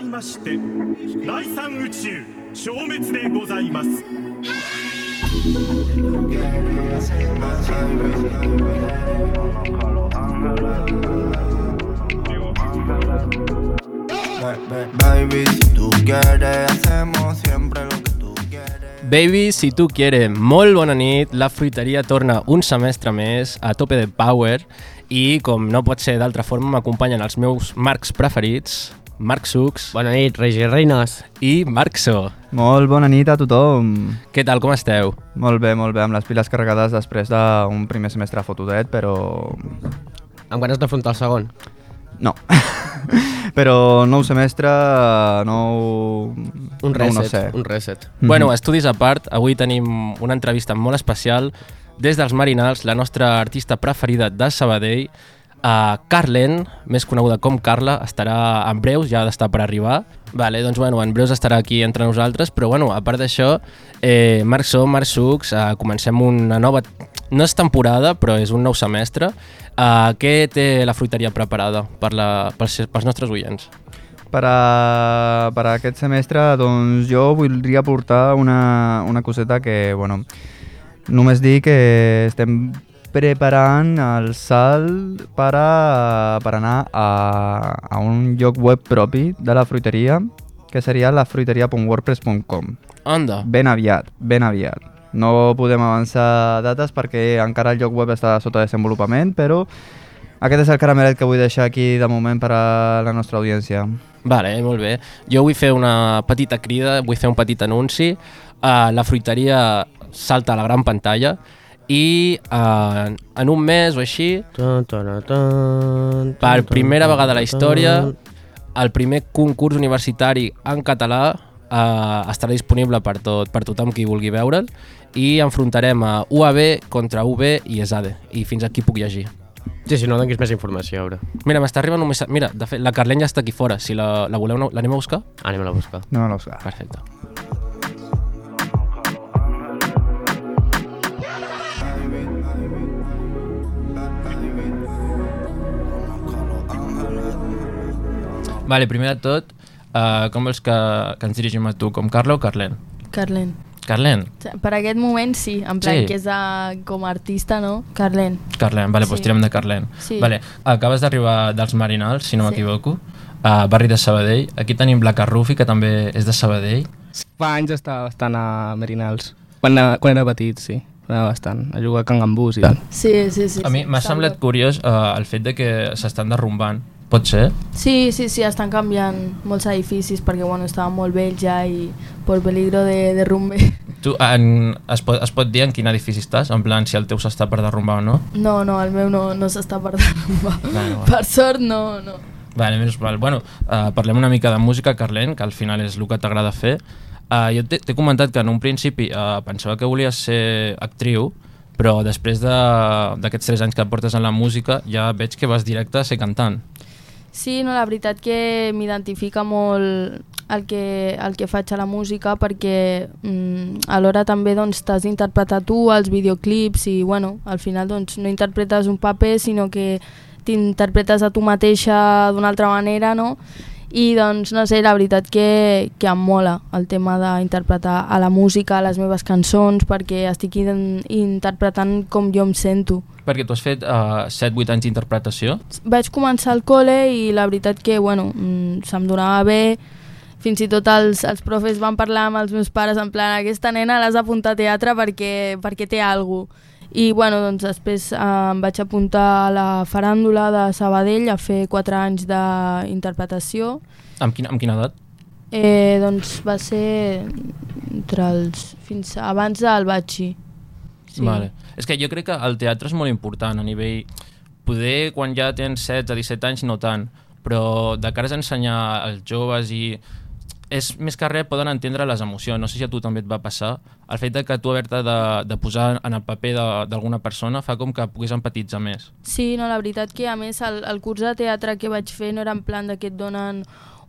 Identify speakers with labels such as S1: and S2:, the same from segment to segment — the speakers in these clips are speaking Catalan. S1: いまして第三宇宙消滅でございます
S2: Baby, si tú quieres, hacemos siempre lo que tú quieres.
S3: Baby, si tu quiere, molt bona nit. La fruiteria torna eh, un semestre més a tope de power i, com no pot ser d'altra forma, m'acompanyen els meus marcs preferits, Marc Sucs
S4: Bona nit, Regis Reines.
S3: i Marc So.
S5: Molt bona nit a tothom.
S3: Què tal, com esteu?
S5: Molt bé, molt bé, amb les piles carregades després d'un primer semestre fotudet, però...
S4: Amb ganes d'afrontar el segon.
S5: No. però nou semestre, nou...
S4: Un
S5: nou,
S4: reset,
S5: no sé.
S4: un reset.
S3: Mm -hmm. Bueno, estudis a part, avui tenim una entrevista molt especial des dels Marinals, la nostra artista preferida de Sabadell, a Carlen, més coneguda com Carla, estarà en breus, ja ha d'estar per arribar. Vale, doncs bueno, en breus estarà aquí entre nosaltres, però bueno, a part d'això, eh, Marc So, Marc Sucs, eh, comencem una nova... No és temporada, però és un nou semestre. Eh, què té la fruiteria preparada per la, pels, pels nostres oients?
S5: Per, a, per a aquest semestre, doncs jo voldria portar una, una coseta que, bueno, només dir que estem preparant el salt per, a, per anar a, a un lloc web propi de la fruiteria, que seria lafruiteria.wordpress.com.
S6: Ah.
S3: Anda,
S5: Ben aviat, ben aviat. No podem avançar dates perquè encara el lloc web està sota desenvolupament, però aquest és el caramelet que vull deixar aquí de moment per a la nostra audiència.
S3: Vale, molt bé. Jo vull fer una petita crida, vull fer un petit anunci. Uh, la fruiteria salta a la gran pantalla i uh, en un mes o així,
S4: Tan, tan, tan,
S3: per
S4: tan,
S3: primera
S4: tan,
S3: vegada a la
S4: tan,
S3: història,
S4: tan.
S3: el primer concurs universitari en català uh, estarà disponible per, tot, per tothom qui vulgui veure'l i enfrontarem a UAB contra UB i ESADE. I fins aquí puc llegir.
S4: Sí, si no, donguis més informació, a veure.
S3: Mira, m'està arribant un missatge... Mira, de fet, la Carlenya està aquí fora. Si la, la voleu, no- l'anem a buscar?
S4: Anem a la busca.
S5: No, no, Òscar.
S3: Perfecte.
S6: Vale, primer de tot, uh, com vols que, que ens dirigim a tu? Com Carla o Carlen?
S7: Carlen.
S6: Carlen.
S7: Per aquest moment sí, en plan
S6: Sí.
S7: que és de, com a artista, no? Carlen.
S6: Carlen, vale, sí. doncs
S7: Sí.
S6: tirem de Carlen.
S7: Sí.
S6: Vale, acabes d'arribar dels Marinals, si no
S7: Sí.
S6: m'equivoco, a barri de Sabadell. Aquí tenim la Carrufi, que també és de Sabadell.
S8: Fa anys estava bastant a Merinals. Quan, a- quan era petit, sí. Anava bastant. A jugar a cangambús i tal.
S7: Sí, sí, sí.
S6: A mi
S7: sí,
S6: m'ha
S7: està
S6: semblat
S7: molt-
S6: curiós uh, el fet de que s'estan derrumbant. Pot ser?
S7: Sí, sí, sí, estan canviant molts edificis perquè, bueno, estava molt vell ja i por peligro de derrumbe.
S6: Tu, en, es, pot, es pot dir en quin edifici estàs? En plan, si el teu s'està per derrumbar o no?
S7: No, no, el meu no, no s'està per derrumbar.
S6: Bueno, bueno.
S7: Per sort, no, no.
S6: Vale, menys mal. Bueno, uh, parlem una mica de música, Carlen, que al final és el que t'agrada fer. Uh, jo t'he t'he comentat que en un principi uh, pensava que volies ser actriu, però després de- d'aquests tres anys que portes en la música ja veig que vas directe a ser cantant.
S7: Sí, no, la veritat que m'identifica molt el que, el que faig a la música perquè mm, alhora també doncs, t'has d'interpretar tu els videoclips i bueno, al final doncs, no interpretes un paper sinó que t'interpretes a tu mateixa d'una altra manera no? i doncs no sé, la veritat que, que em mola el tema d'interpretar a la música, a les meves cançons perquè estic in interpretant com jo em sento
S6: Perquè tu has fet uh, 7-8 anys d'interpretació.
S7: vaig començar al col·le i la veritat que, bueno, mm, se'm donava bé, fins i tot els, els profes van parlar amb els meus pares en plan aquesta nena l'has d'apuntar a teatre perquè, perquè té alguna i bueno, doncs després eh, em vaig apuntar a la faràndula de Sabadell a fer 4 anys d'interpretació.
S6: Amb quina, amb quina edat?
S7: Eh, doncs va ser entre els, fins abans del batxi.
S6: Vale. És que jo crec que el teatre és molt important a nivell... Poder quan ja tens 16 a 17 anys no tant, però de cara a ensenyar als joves i és més que res poden entendre les emocions. No sé si a tu també et va passar. El fet de que tu haver-te de, de posar en el paper de- d'alguna persona fa com que puguis empatitzar més.
S7: Sí, no, la veritat que a més el, el curs de teatre que vaig fer no era en plan de que et donen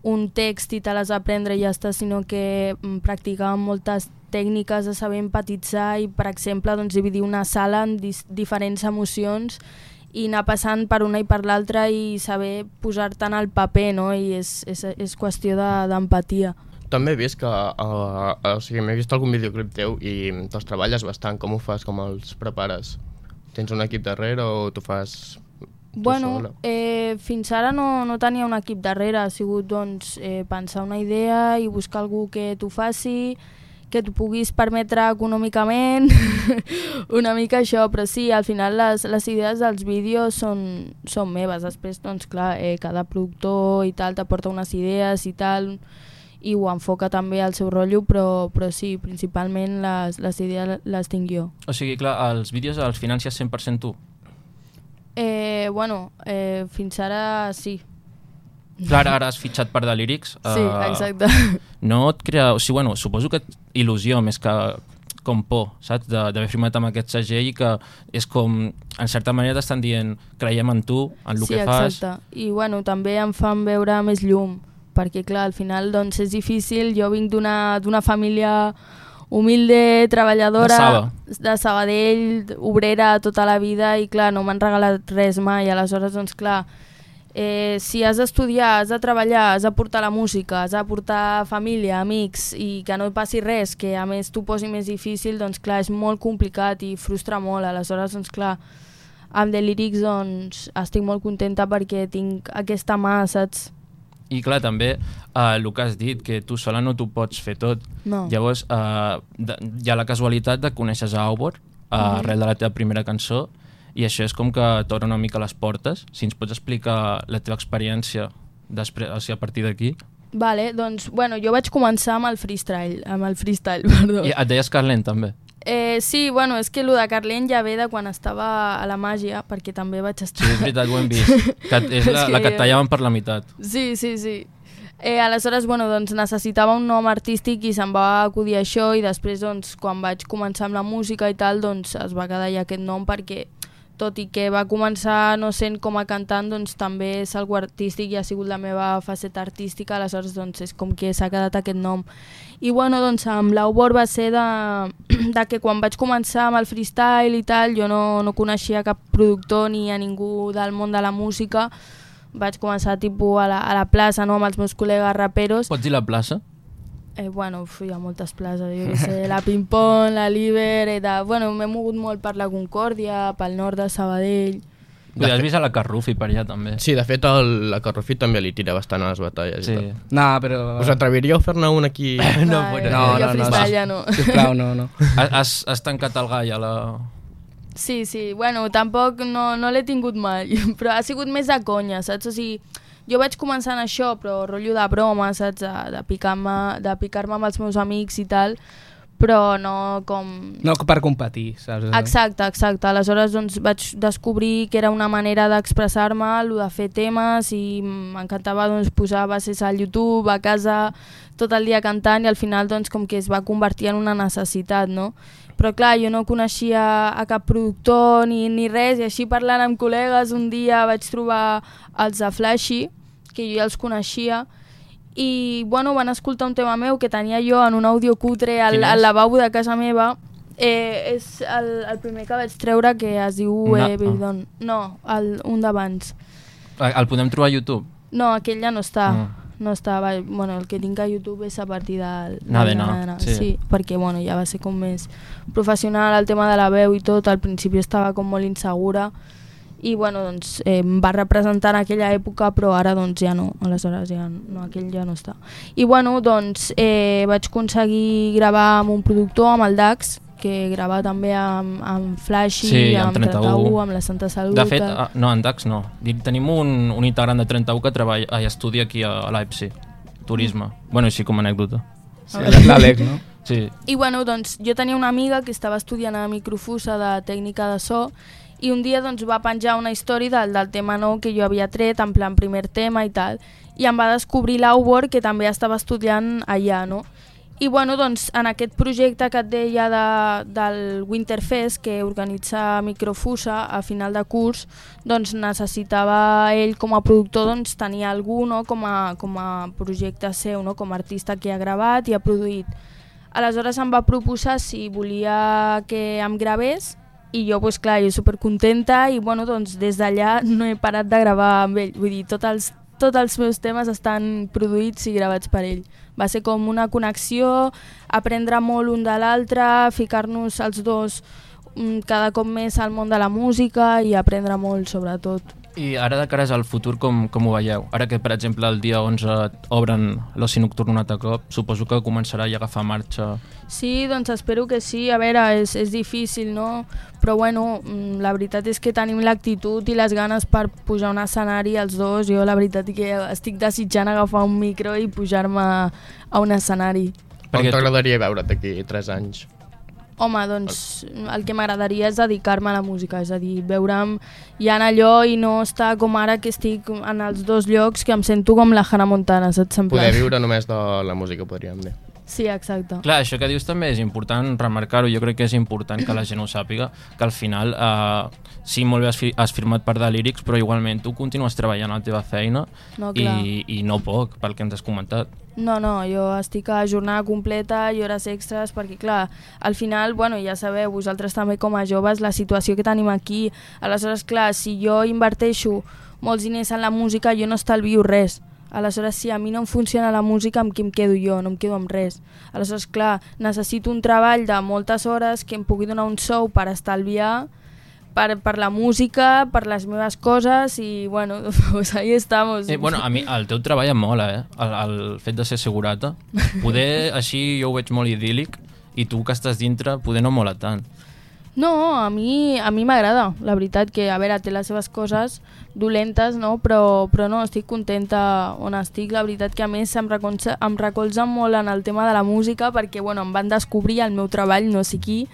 S7: un text i te l'has d'aprendre i ja està, sinó que mm, practicàvem moltes tècniques de saber empatitzar i, per exemple, doncs, dividir una sala en dis diferents emocions i anar passant per una i per l'altra i saber posar-te en el paper, no? I és, és, és qüestió de- d'empatia. De,
S9: També he vist que, uh, o sigui, m'he vist algun videoclip teu i te'ls treballes bastant. Com ho fas? Com els prepares? Tens un equip darrere o tu fas... tu sola?
S7: Bueno, eh, fins ara no, no tenia un equip darrere, ha sigut doncs, eh, pensar una idea i buscar algú que t'ho faci, que t'ho puguis permetre econòmicament, una mica això, però sí, al final les, les idees dels vídeos són, són meves, després doncs clar, eh, cada productor i tal t'aporta unes idees i tal, i ho enfoca també al seu rotllo, però, però sí, principalment les, les idees les tinc jo.
S6: O sigui, clar, els vídeos els financies 100% tu.
S7: Eh, bueno, eh, fins ara sí.
S6: Clar, ara has fitxat per de Lyrics.
S7: Sí,
S6: eh,
S7: exacte.
S6: No et crea... O sigui, bueno, suposo que il·lusió més que com por, saps? De- D'haver firmat amb aquest segell i que és com, en certa manera t'estan dient creiem en tu, en el
S7: sí,
S6: que fas.
S7: exacte. I bueno, també em fan veure més llum, perquè clar, al final doncs, és difícil, jo vinc d'una d'una família humilde, treballadora,
S6: De Saba.
S7: de Sabadell, obrera tota la vida i clar, no m'han regalat res mai, aleshores doncs clar, eh, si has d'estudiar, has de treballar, has de portar la música, has de portar família, amics i que no et passi res, que a més t'ho posi més difícil, doncs clar, és molt complicat i frustra molt, aleshores doncs clar, amb The Lyrics doncs, estic molt contenta perquè tinc aquesta mà, saps?
S6: I clar, també eh, el que has dit, que tu sola no t'ho pots fer tot.
S7: No.
S6: Llavors, eh, de, hi ha la casualitat de que coneixes a Aubor eh,
S7: Mhm.
S6: arrel de la teva primera cançó i això és com que t'obre una mica les portes. Si ens pots explicar la teva experiència després, o sigui, a partir d'aquí.
S7: Vale, doncs, bueno, jo vaig començar amb el freestyle, amb el freestyle, perdó.
S6: I et deies Carlen, també.
S7: Eh, sí, bueno, és que el de Carlen ja ve de quan estava a la màgia, perquè també vaig estar...
S6: Sí, és veritat, ho hem vist. Que és la,
S7: És que
S6: la que et
S7: jo-
S6: tallaven per la meitat.
S7: Sí, sí, sí. Eh, aleshores, bueno, doncs necessitava un nom artístic i se'm va acudir això i després, doncs, quan vaig començar amb la música i tal, doncs es va quedar ja aquest nom perquè, tot i que va començar no sent com a cantant, doncs també és algo artístic i ha sigut la meva faceta artística, aleshores, doncs, és com que s'ha quedat aquest nom. I, bueno, doncs, amb l'Aubor va ser de, de que quan vaig començar amb el freestyle i tal, jo no, no coneixia cap productor ni a ningú del món de la música, vaig començar tipus a la, a la plaça no? amb els meus col·legues raperos
S6: Pots dir la plaça?
S7: eh, bueno, fui a moltes places jo què sé, la Pimpon, la Liber eh, de... bueno, m'he mogut molt per la Concòrdia pel nord de Sabadell
S6: Vull dir, has vist a la Carrufi per allà, també.
S9: Sí, de fet, el, la Carrofi també li tira bastant a les batalles.
S6: Sí.
S9: I tot.
S8: No, però...
S9: Us atreviríeu a fer-ne un aquí?
S6: No,
S7: Ai,
S6: bueno.
S8: No,
S7: jo
S8: no, no.
S7: freestyle
S8: Va.
S7: ja no
S8: Sisplau, no, no.
S6: Has, has tancat el gall a la...
S7: Sí, sí, bueno, tampoc no, no l'he tingut mai, però ha sigut més de conya, saps? O sigui, jo vaig començar en això, però rotllo de broma, saps? De, de picar-me de picar amb els meus amics i tal, però no com...
S8: No per competir, saps?
S7: Exacte, exacte. Aleshores doncs, vaig descobrir que era una manera d'expressar-me, el de fer temes i m'encantava doncs, posar bases al YouTube, a casa, tot el dia cantant i al final doncs, com que es va convertir en una necessitat, no? Però clar, jo no coneixia a cap productor ni, ni res i així parlant amb col·legues un dia vaig trobar els de Flashy, que jo ja els coneixia, i bueno, van escoltar un tema meu que tenia jo en un àudio cutre al,
S6: Quin és?
S7: al lavabo de casa meva. Eh, és el, el primer que vaig treure que es diu
S6: Una- ah.
S7: eh, Bildon. No, el, un d'abans.
S6: El podem trobar a YouTube?
S7: No, aquell ja no està.
S6: Mm.
S7: No està, va, bueno, el que tinc a YouTube és a partir del... del
S6: Nada de
S7: Nada
S6: nada,
S7: de nada.
S6: sí.
S7: Sí. perquè bueno, ja va ser com més professional el tema de la veu i tot, al principi estava com molt insegura i bueno, doncs eh, em va representar en aquella època però ara doncs ja no, aleshores ja no, aquell ja no està. I bueno, doncs eh, vaig aconseguir gravar amb un productor, amb el Dax, que grava també amb, amb Flashy,
S6: Sí, amb
S7: amb 31,
S6: 31,
S7: amb la Santa Salut. eh.
S6: De fet,
S7: tal.
S6: ah, no, en DAX no. Dic, Tenim un, un integrant de 31 que treballa, ai, estudia aquí a, a l'EPSI, turisme. Bueno, així com a anècdota.
S8: L'Àlex, no?
S6: Sí,
S7: I bueno, doncs jo tenia una amiga que estava estudiant a microfusa de tècnica de so i un dia doncs va penjar una història del, del tema nou que jo havia tret, en plan primer tema i tal, i em va descobrir l'Aubor que també estava estudiant allà, no? I bueno, doncs en aquest projecte que et deia de, del Winterfest que organitza Microfusa a final de curs, doncs necessitava ell com a productor doncs, tenir algú no? com, a, com a projecte seu, no? com a artista que ha gravat i ha produït. Aleshores em va proposar si volia que em gravés i jo, pues, clar, jo supercontenta i bueno, doncs, des d'allà no he parat de gravar amb ell. Vull dir, tots els, tots els meus temes estan produïts i gravats per ell. Va ser com una connexió, aprendre molt un de l'altre, ficar-nos els dos mm, cada cop més al món de la música i aprendre molt, sobretot.
S6: I ara de cares al futur, com, com ho veieu? Ara que, per exemple, el dia 11 obren l'oci nocturn un altre cop, suposo que començarà ja a agafar marxa.
S7: Sí, doncs espero que sí. A veure, és, és difícil, no? Però bueno, mm, la veritat és que tenim l'actitud i les ganes per pujar a un escenari els dos. Jo la veritat que estic desitjant agafar un micro i pujar-me a un escenari.
S9: Perquè
S6: Perquè tu-
S9: t'agradaria veure't d'aquí 3 anys?
S7: Home, doncs el que m'agradaria és dedicar-me a la música, és a dir, veure'm ja en allò i no estar com ara que estic en els dos llocs que em sento com la Hannah Montana, saps? En
S9: Poder
S7: plan-
S9: viure només de la música, podríem dir.
S7: Sí, exacte.
S6: Clar, això que dius també és important remarcar-ho, jo crec que és important que la gent ho sàpiga, que al final, eh, sí, molt bé has, fi has firmat per Delírics, però igualment tu continues treballant a la teva feina
S7: No, clar.
S6: i, i no poc, pel que ens has comentat.
S7: No, no, jo estic a jornada completa i hores extres perquè, clar, al final, bueno, ja sabeu, vosaltres també com a joves, la situació que tenim aquí. Aleshores, clar, si jo inverteixo molts diners en la música, jo no estalvio res. Aleshores, si a mi no em funciona la música, amb qui em quedo jo? No em quedo amb res. Aleshores, clar, necessito un treball de moltes hores que em pugui donar un sou per estalviar, per, per la música, per les meves coses i, bueno, pues ahí estamos.
S6: Eh, bueno, a mi el teu treball em mola, eh? El, el fet de ser segurata. Poder, així, jo ho veig molt idíl·lic, i tu que estàs dintre, poder no mola tant.
S7: No, a mi a mi m'agrada, la veritat que, a veure, té les seves coses dolentes, no? però, però no, estic contenta on estic, la veritat que a més em recolza, em recolza molt en el tema de la música perquè bueno, em van descobrir el meu treball, no sé qui,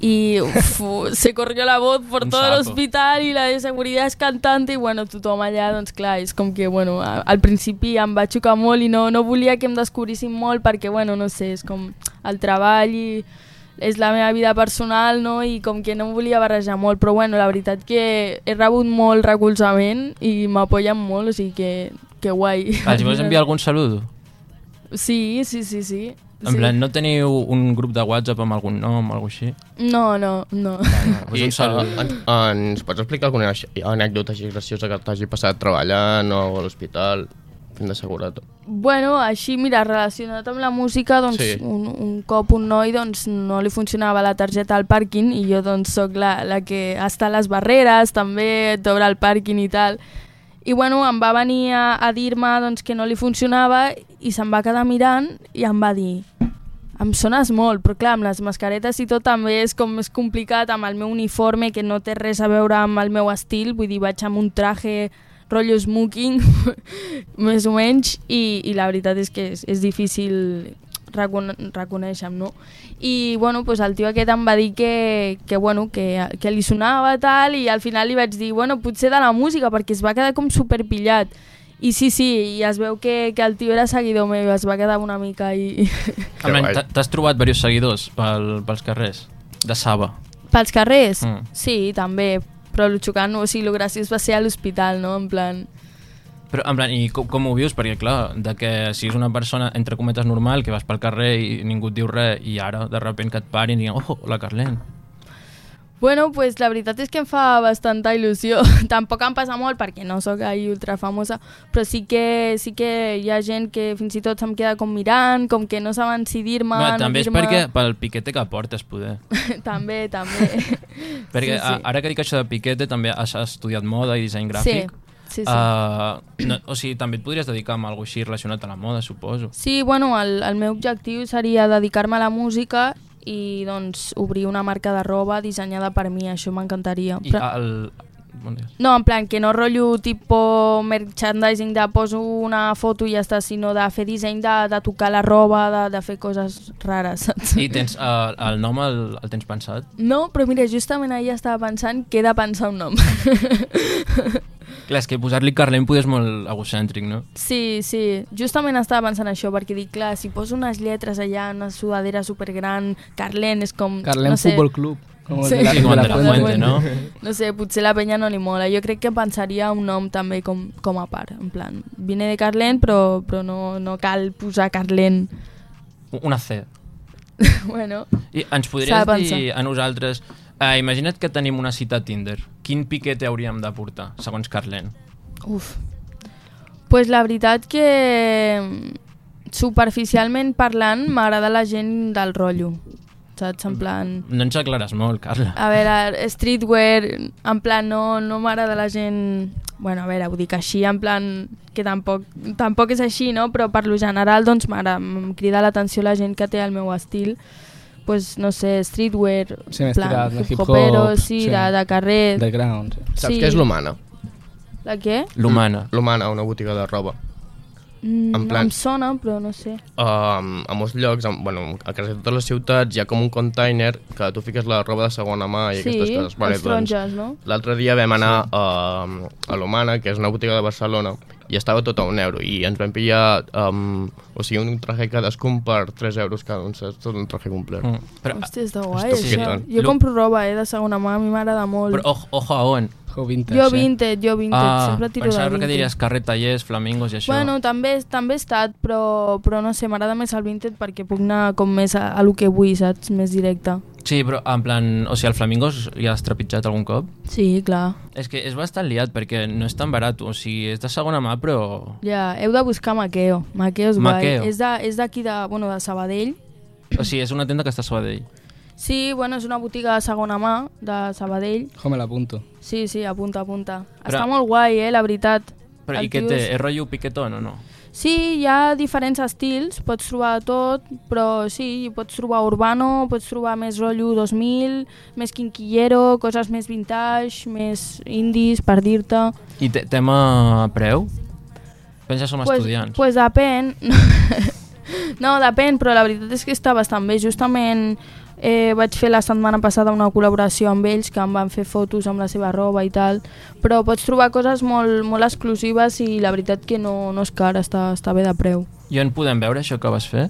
S7: y uf, se corrió la voz por
S6: Un
S7: todo el
S6: sapo.
S7: hospital y la de seguridad es cantante y bueno, tothom allà, doncs clar, és com que, bueno, a- al principi em va xocar molt i no, no volia que em descobrissin molt perquè, bueno, no sé, és com el treball i és la meva vida personal, no?, i com que no em volia barrejar molt, però bueno, la veritat que he rebut molt recolzament i m'apoyen molt, o sigui que, que guai.
S6: Els vols enviar algun saludo?
S7: Sí, sí, sí, sí.
S6: En
S7: sí.
S6: plan, no teniu un grup de WhatsApp amb algun nom o alguna així?
S7: No, no, no.
S6: Pues un salut.
S7: eh,
S9: en, ens pots explicar alguna aix- anècdota així graciosa que t'hagi passat treballant o a l'hospital? Fent de seguretat.
S7: Bueno, així, mira, relacionat amb la música, doncs sí.
S9: Sí.
S7: un, un cop un noi doncs, no li funcionava la targeta al pàrquing i jo doncs sóc la, la que està a les barreres, també t'obre el pàrquing i tal. I bueno, em va venir a, a dir-me doncs, que no li funcionava i se'm va quedar mirant i em va dir em sones molt, però clar, amb les mascaretes i tot també és com més complicat amb el meu uniforme que no té res a veure amb el meu estil, vull dir, vaig amb un traje rotllo smoking, més o menys, i, i la veritat és que és, és difícil recone reconèixer-me, no? I, bueno, pues el tio aquest em va dir que, que bueno, que, que li sonava tal, i al final li vaig dir, bueno, potser de la música, perquè es va quedar com superpillat. I sí, sí, i es veu que, que el tio era seguidor meu, es va quedar una mica i...
S9: Que
S6: Almenys
S9: guai.
S6: t'ha- T'has trobat diversos seguidors pel, pels carrers de Saba.
S7: Pels carrers?
S6: Mm.
S7: Mm. Sí, també, però el xocant, o sigui, el graciós va ser a l'hospital, no? En plan...
S6: Però, en plan, i com, com ho vius? Perquè, clar, de que si és una persona, entre cometes, normal, que vas pel carrer i ningú et diu res, i ara, de repent, que et parin i diguin, oh, la Carlen.
S7: Bueno, pues la veritat és que em fa bastanta il·lusió. Tampoc em passa molt perquè no sóc ahí ultra famosa, però sí que, sí que hi ha gent que fins i tot se'm queda com mirant, com que no saben si dir-me,
S6: No,
S7: no,
S6: també és
S7: dir-me...
S6: perquè pel piquete que portes, poder.
S7: també, també.
S6: Perquè
S7: Sí, sí.
S6: a- ara que dic això de piquete, també has estudiat moda i disseny gràfic.
S7: Sí, sí, sí.
S6: Uh, no, o sigui, també et podries dedicar a alguna així relacionat a la moda, suposo.
S7: Sí, bueno, el, el meu objectiu seria dedicar-me a la música i doncs obrir una marca de roba dissenyada per mi, això m'encantaria.
S6: I el... Bon dia.
S7: No, en plan, que no rotllo tipo merchandising de poso una foto i ja està, sinó de fer disseny, de, de tocar la roba, de, de fer coses rares, saps?
S6: I tens, uh, el nom el, el tens pensat?
S7: No, però mira, justament ahir estava pensant que he de pensar un nom.
S6: Clar, és que posar-li Carlen potser és molt egocèntric, no?
S7: sí, sí, justament estava pensant això, perquè dic, clar, si poso unes lletres allà, una sudadera supergran, Carlen és com...
S8: Carlem
S7: no sé,
S8: Futbol Club. Com
S7: Sí.
S8: el de la,
S6: Sí, com
S8: de la
S6: el de la
S8: Fuente.
S6: Fuente, no?
S7: No sé, potser la penya no li mola. Jo crec que pensaria un nom també com, com a part, en plan, vine de Carlen, però, però no, no cal posar Carlen.
S6: Una C.
S7: bueno...
S6: I ens
S7: S'ha
S6: podries
S7: de pensar.
S6: dir a nosaltres Uh, imagina't que tenim una cita a Tinder. Quin piquet hauríem de portar, segons Carlen?
S7: Uf. Pues la veritat que mm, superficialment parlant m'agrada la gent del rotllo, saps?
S6: Mm.
S7: En plan...
S6: No ens aclares molt, Carla.
S7: A veure, streetwear, en plan, no, no m'agrada la gent... Bueno, a veure, ho dic així, en plan, que tampoc, tampoc és així, no? Però per lo general, doncs, m'agrada, em crida l'atenció la gent que té el meu estil, pues, no sé, streetwear,
S8: Sí,
S7: en
S8: més
S7: plan,
S8: tirat de hip-hop,
S7: hip-hopero, sí,
S8: sí.
S7: de, de carrer...
S8: De ground.
S9: Saps
S7: sí.
S9: què és l'humana?
S7: La què?
S6: L'humana.
S9: L'humana, una botiga de roba.
S7: Mm,
S9: En plan-
S7: Em sona, però no sé.
S9: Um, a molts llocs, en, bueno, a quasi totes les ciutats hi ha com un container que tu fiques la roba de segona mà i
S7: sí,
S9: aquestes coses. doncs.
S7: els taronges, no?
S9: L'altre dia vam anar sí. a, a l'Humana, que és una botiga de Barcelona, i estava tot a un euro, i ens vam pillar um, o sigui, un traje cadascun per 3 euros cada un, saps? Tot un traje complet. Mm.
S6: Mm. Però,
S7: Hòstia, és de guai,
S9: Estàs
S7: això.
S9: quitant.
S7: Jo
S6: Lo-
S7: compro roba, eh, de segona mà, a mi m'agrada molt.
S6: però ojo, ojo a on. Ah,
S8: O vintage.
S7: jo
S8: eh?
S7: vintage, jo vintage,
S8: Ah,
S7: sempre tiro de
S6: pensava
S7: vintage.
S6: que diries carrer, tallers, flamingos i això.
S7: Bueno, també, també he estat, però, però no sé, m'agrada més el vintage perquè puc anar com més a, a lo que vull, saps? Més directe.
S6: Sí, però en plan... O sigui, el flamingos ja has trepitjat algun cop?
S7: Sí, clar.
S6: És que és bastant liat perquè no és tan barat, o sigui, és de segona mà, però...
S7: Ja, heu de buscar Maqueo. Maqueo és guai.
S6: Maqueo.
S7: És de- És d'aquí de, bueno, de Sabadell.
S6: O sigui, és una tenda que està a Sabadell.
S7: Sí, bueno, és una botiga de segona mà de Sabadell.
S8: Jo me l'apunto.
S7: Sí, sí, apunta, apunta.
S6: Però-
S7: Està molt guai, eh, la veritat.
S6: Però
S7: El
S6: i què
S7: tio
S6: té?
S7: és-
S6: És rotllo piquetón o no?
S7: Sí, hi ha diferents estils, pots trobar de tot, però sí, hi pots trobar urbano, pots trobar més rotllo 2000, més quinquillero, coses més vintage, més indies, per dir-te...
S6: I te tema preu? Pensa som pues, estudiants.
S7: pues depèn. no, depèn, però la veritat és que està bastant bé. Justament eh, vaig fer la setmana passada una col·laboració amb ells que em van fer fotos amb la seva roba i tal, però pots trobar coses molt, molt exclusives i la veritat que no, no és car, està, està bé de preu.
S6: I on podem veure això que vas fer?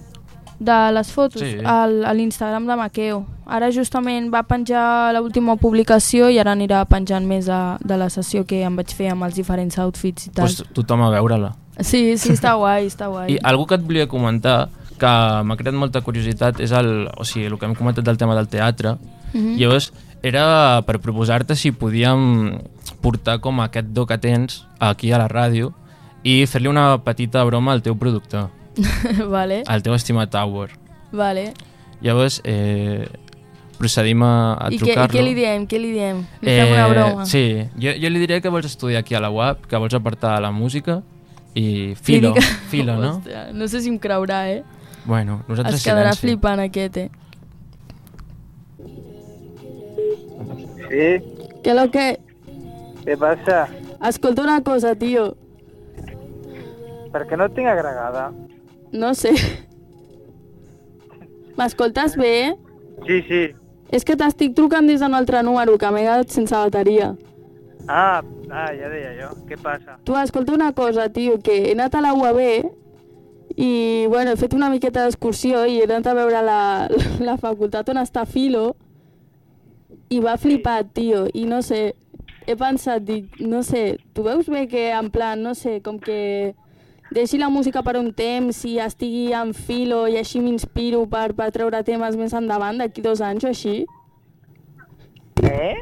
S7: De les fotos,
S6: Sí.
S7: sí. al, a l'Instagram de Maqueo. Ara justament va penjar l'última publicació i ara anirà penjant més de, de la sessió que em vaig fer amb els diferents outfits i tal.
S6: Pues Doncs tothom a veure-la.
S7: Sí, sí, està guai, està guai.
S6: I algú que et volia comentar que m'ha creat molta curiositat és el, o sigui, el que hem comentat del tema del teatre.
S7: Mhm.
S6: Mm -hmm. Llavors, era per proposar-te si podíem portar com aquest do que tens aquí a la ràdio i fer-li una petita broma al teu productor,
S7: vale,
S6: al teu estimat Tower.
S7: vale.
S6: Llavors, eh, procedim a, a
S7: I què, i
S6: trucar-lo. Eh,
S7: què li diem? Què li diem? Li fem una broma.
S6: Sí, jo, jo li diré que vols estudiar aquí a la UAP, que vols apartar a la música i filo,
S7: dic-
S6: filo, no?
S7: Hòstia, no sé si em creurà, eh?
S6: Bueno, nosaltres
S7: Es quedarà
S6: silenci.
S7: flipant aquest, eh?
S10: Sí,
S7: Que lo que...
S10: què passa?
S7: Escolta una cosa, tio.
S10: Per què no et tinc agregada?
S7: No sé. M'escoltes bé, eh?
S10: Sí, sí.
S7: És que t'estic trucant des d'un altre número, que m'he quedat sense bateria.
S10: Ah, ah, ja deia jo. Què passa?
S7: Tu, escolta una cosa, tio, que he anat a la UAB i, bueno, he fet una miqueta d'excursió i he anat a veure la, la facultat on està Filo i va flipar, tio, i no sé, he pensat, dic, no sé, tu veus bé que en plan, no sé, com que deixi la música per un temps i estigui en Filo i així m'inspiro per, per treure temes més endavant d'aquí dos anys o així?
S10: Eh?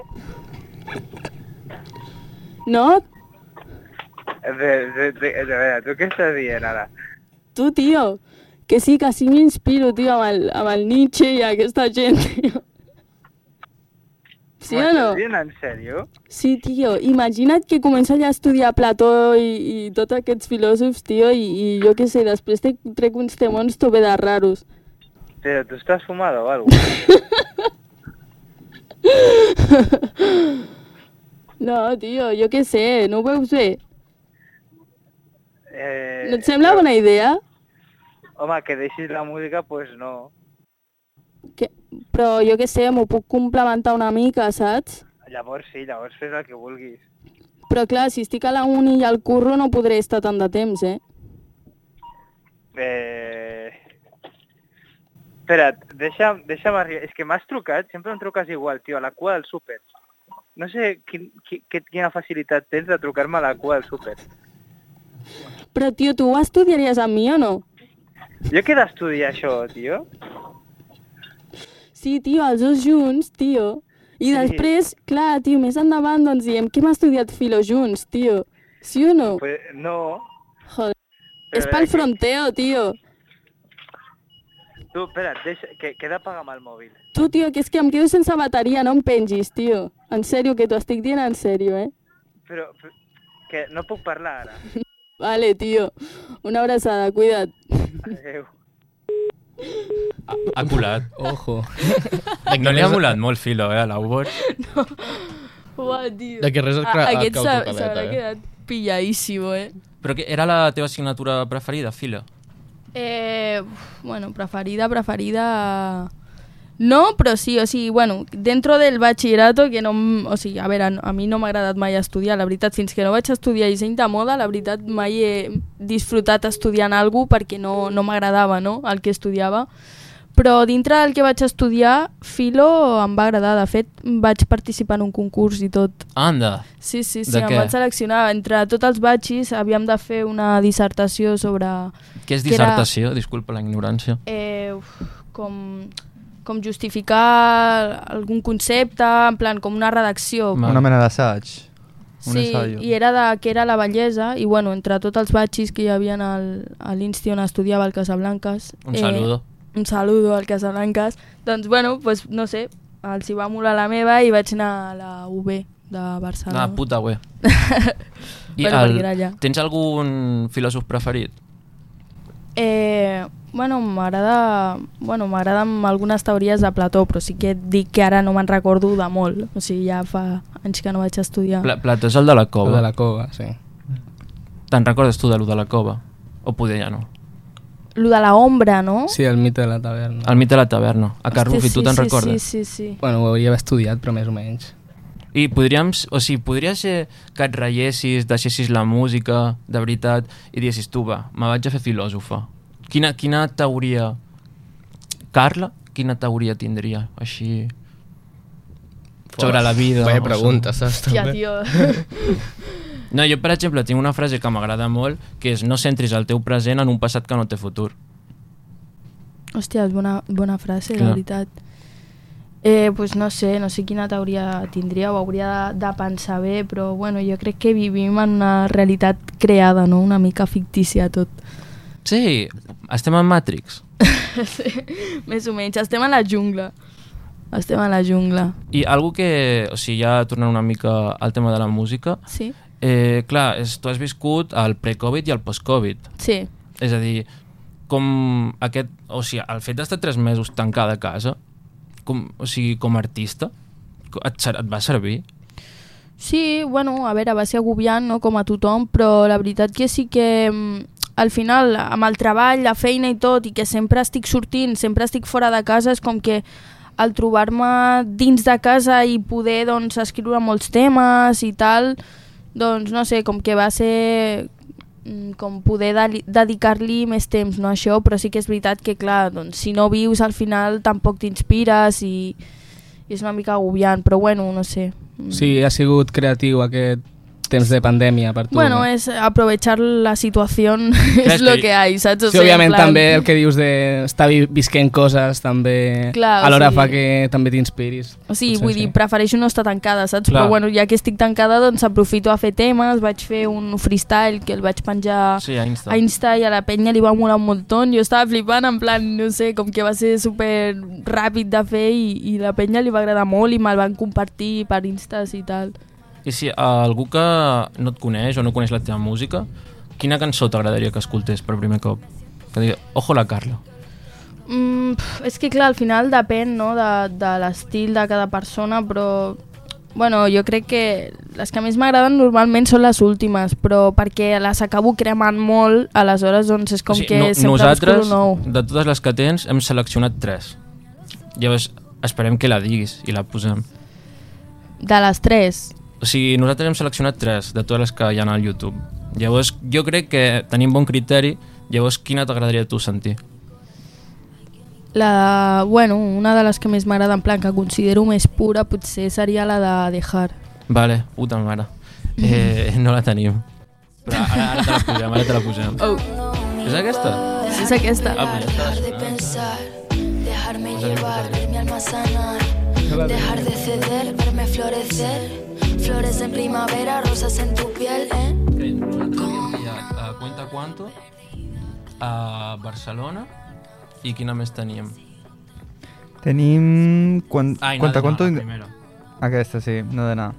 S7: No?
S10: De, de, de, de veure, tu què estàs dient ara?
S7: Tu, tio, que sí, que sí m'inspiro, tio, amb el, amb el Nietzsche i aquesta gent, tio. Sí o no?
S10: M'estàs dient en sèrio?
S7: Sí, tio, imagina't que comença ja a estudiar Plató i, i tots aquests filòsofs, tio, i, i jo què sé, després te trec uns temons tope de raros.
S10: Però tu estàs fumada o alguna cosa?
S7: No, tio, jo què sé, no ho veus bé?
S10: Eh,
S7: No et sembla bona idea?
S10: Home, que deixis la música, doncs pues no.
S7: Que, però jo què sé, m'ho puc complementar una mica, saps?
S10: Llavors sí, llavors fes el que vulguis.
S7: Però clar, si estic a la uni i al curro no podré estar tant de temps, eh?
S10: Eh... Espera't, deixa'm, deixa'm arribar. És que m'has trucat, sempre em truques igual, tio, a la cua del súper. No sé quin, qui, qui, quina facilitat tens de trucar-me a la cua del súper.
S7: Però, tio, tu ho estudiaries amb mi o no?
S10: Jo què he d'estudiar això, tio?
S7: Sí, tio, els dos junts, tio.
S11: I després, clar, tio, més endavant doncs diem que hem estudiat filo junts, tio. Sí o no?
S10: Pues, no,
S11: Joder.
S10: Però
S11: És
S10: a veure,
S11: pel
S10: que-
S11: fronteo, tio.
S10: tu, espera, deixa, que, que he d'apaga'm el mòbil.
S11: Tu, tio, que és que em quedo sense bateria, no em pengis, tio. En sèrio, que t'ho estic dient en sèrio, eh?
S10: Però, però que no puc parlar ara.
S11: Vale, tio. Una abraçada, cuida't.
S10: Adéu.
S6: Ha colat.
S8: Ojo.
S6: No li ha molat molt, Filo, eh, a l'Ubot.
S7: Ua, tio.
S6: De que res et
S7: A-
S6: cra- et
S7: Aquest
S6: cau
S7: s'ha-
S6: tota
S7: s'haurà
S6: l'eta, eh?
S7: quedat pilladíssimo, eh?
S6: Però que era la teva assignatura preferida, Filo?
S7: Eh, uf, bueno, preferida, preferida... No, però sí, o sigui, bueno, dentro del batxillerato, que no... m- O sigui, a veure, a mi no m'ha agradat mai estudiar, la veritat, fins que no vaig estudiar disseny de moda, la veritat mai he disfrutat estudiant alguna cosa perquè no, no m'agradava, no?, el que estudiava. Però dintre del que vaig estudiar, filo em va agradar, de fet, vaig participar en un concurs i tot.
S6: Anda.
S7: Sí, sí, sí,
S6: De
S7: em
S6: què?
S7: van seleccionar. Entre tots els batxis havíem de fer una dissertació sobre...
S6: Què és
S7: que era,
S6: dissertació? Disculpa la ignorància.
S7: eh, uf, com, com justificar algun concepte, en plan, com una redacció.
S5: Una mena d'assaig. Un
S7: Sí,
S5: ensaio.
S7: i era de que era la bellesa, i bueno, entre tots els batxis que hi havia al, a l'Insti on estudiava el Casablanques...
S6: Un saludo.
S7: Un saludo al Casablanques. Doncs, bueno, pues, no sé, els hi va molar la meva i vaig anar a la UB de Barcelona.
S6: Ah, puta, güey. I
S7: Bueno,
S6: el-
S7: perquè era allà.
S6: tens algun filòsof preferit?
S7: Eh, bueno, m'agrada... Bueno, m'agraden algunes teories de Plató, però sí que et dic que ara no me'n recordo de molt. O sigui, ja fa anys que no vaig estudiar.
S6: Pla Plató és el de la cova.
S8: El de la cova, sí.
S6: Te'n recordes tu de lo de la cova? O poder ja no.
S7: Lo de la ombra, no?
S8: Sí, el mite de la taverna.
S6: El mite de la taverna. A
S8: Hòstia,
S6: Carrufi, tu
S8: sí,
S6: te'n
S8: sí,
S6: recordes?
S7: Sí, sí, sí.
S8: Bueno, ho hauria d'haver estudiat, però més o menys.
S6: I podríem, o sigui, podria ser que et reiessis, deixessis la música, de veritat, i diguessis, tu va, me vaig a fer filòsofa. Quina, quina teoria... Carla, quina teoria tindria, així... Sobre la vida.
S9: Vaya
S6: o
S9: pregunta, saps,
S7: Hòstia,
S9: també?
S7: tio.
S6: No, jo, per exemple, tinc una frase que m'agrada molt, que és no centris el teu present en un passat que no té futur.
S7: Hòstia, és bona, bona frase,
S6: Clar.
S7: la veritat. Eh, pues no sé, no sé quina teoria tindria o hauria de, de pensar bé, però bueno, jo crec que vivim en una realitat creada, no? Una mica fictícia tot.
S6: Sí, estem en Matrix.
S7: sí, més o menys. Estem a la jungla. Estem a la jungla.
S6: I algo que, o sigui, ja tornant una mica al tema de la música,
S7: Sí.
S6: eh, clar, és, tu has viscut el pre-Covid i el post-Covid.
S7: Sí.
S6: És a dir, com aquest... O sigui, el fet d'estar tres mesos tancada a casa, com, o sigui, com a artista, co- et, ser- et va servir?
S7: Sí, bueno, a veure, va ser agobiant, no?, com a tothom, però la veritat que sí que mm, al final, amb el treball, la feina i tot, i que sempre estic sortint, sempre estic fora de casa, és com que el trobar-me dins de casa i poder, doncs, escriure molts temes i tal, doncs, no sé, com que va ser mm, com poder de dedicar-li més temps, no, a això, però sí que és veritat que, clar, doncs, si no vius, al final tampoc t'inspires i, i és una mica agobiant, però bueno, no sé. Mm.
S8: Sí, ha sigut creatiu aquest temps de pandèmia per tu.
S7: Bueno,
S8: no?
S7: es aprovechar la situación, es
S8: Claro,
S7: lo
S8: es que-
S7: que hay, ¿sabes? O
S8: Sí,
S7: sea, en
S8: òbviament
S7: plan-
S8: també el que dius de estar vi- visquent coses també
S7: Clar, o
S8: alhora
S7: sigui-
S8: fa que també t'inspiris.
S7: O sigui,
S8: Potser
S7: vull dir, prefereixo no estar tancada, saps?
S8: Clar.
S7: Però bueno, ja que estic tancada, doncs aprofito a fer temes, vaig fer un freestyle que el vaig penjar
S6: Sí, a Insta.
S7: Ah, a Insta i a la penya li va molar un munt. Jo estava flipant, en plan, no sé, com que va ser super ràpid de fer i, i la penya li va agradar molt i me'l van compartir per Instas i tal.
S6: I si a algú que no et coneix o no coneix la teva música, quina cançó t'agradaria que escoltés per primer cop? Que digui, ojo la Carla.
S7: Mm, pf, és que clar, al final depèn no, de, de l'estil de cada persona, però bueno, jo crec que les que més m'agraden normalment són les últimes, però perquè les acabo cremant molt, aleshores doncs és com
S6: O sigui,
S7: que
S6: no-
S7: sempre
S6: nosaltres,
S7: busco lo nou.
S6: de totes les que tens, hem seleccionat tres. Llavors, esperem que la diguis i la posem.
S7: De les tres.
S6: O sigui, nosaltres hem seleccionat tres de totes les que hi ha al YouTube. Llavors, jo crec que tenim bon criteri. Llavors, quina t'agradaria a tu sentir?
S7: La, bueno, una de les que més m'agrada, en plan, que considero més pura, potser seria la de Dejar.
S6: Vale, puta mare. Eh, no la tenim. Però ara, ara te la posem, ara te la posem.
S7: Oh.
S6: És aquesta?
S7: És aquesta.
S6: Ah, pues ja està.
S12: Dejar de pensar, dejarme llevar, ver mi alma sanar, Dejar de ceder, verme florecer. Flores en primavera, rosas en tu piel, ¿eh?
S6: a Cuenta Quanto, a Barcelona i quina més teníem?
S5: Tenim... Quan,
S6: Ah, i Nadena,
S5: quanta, quanta...
S6: la primera.
S5: Aquesta sí, no d'anar.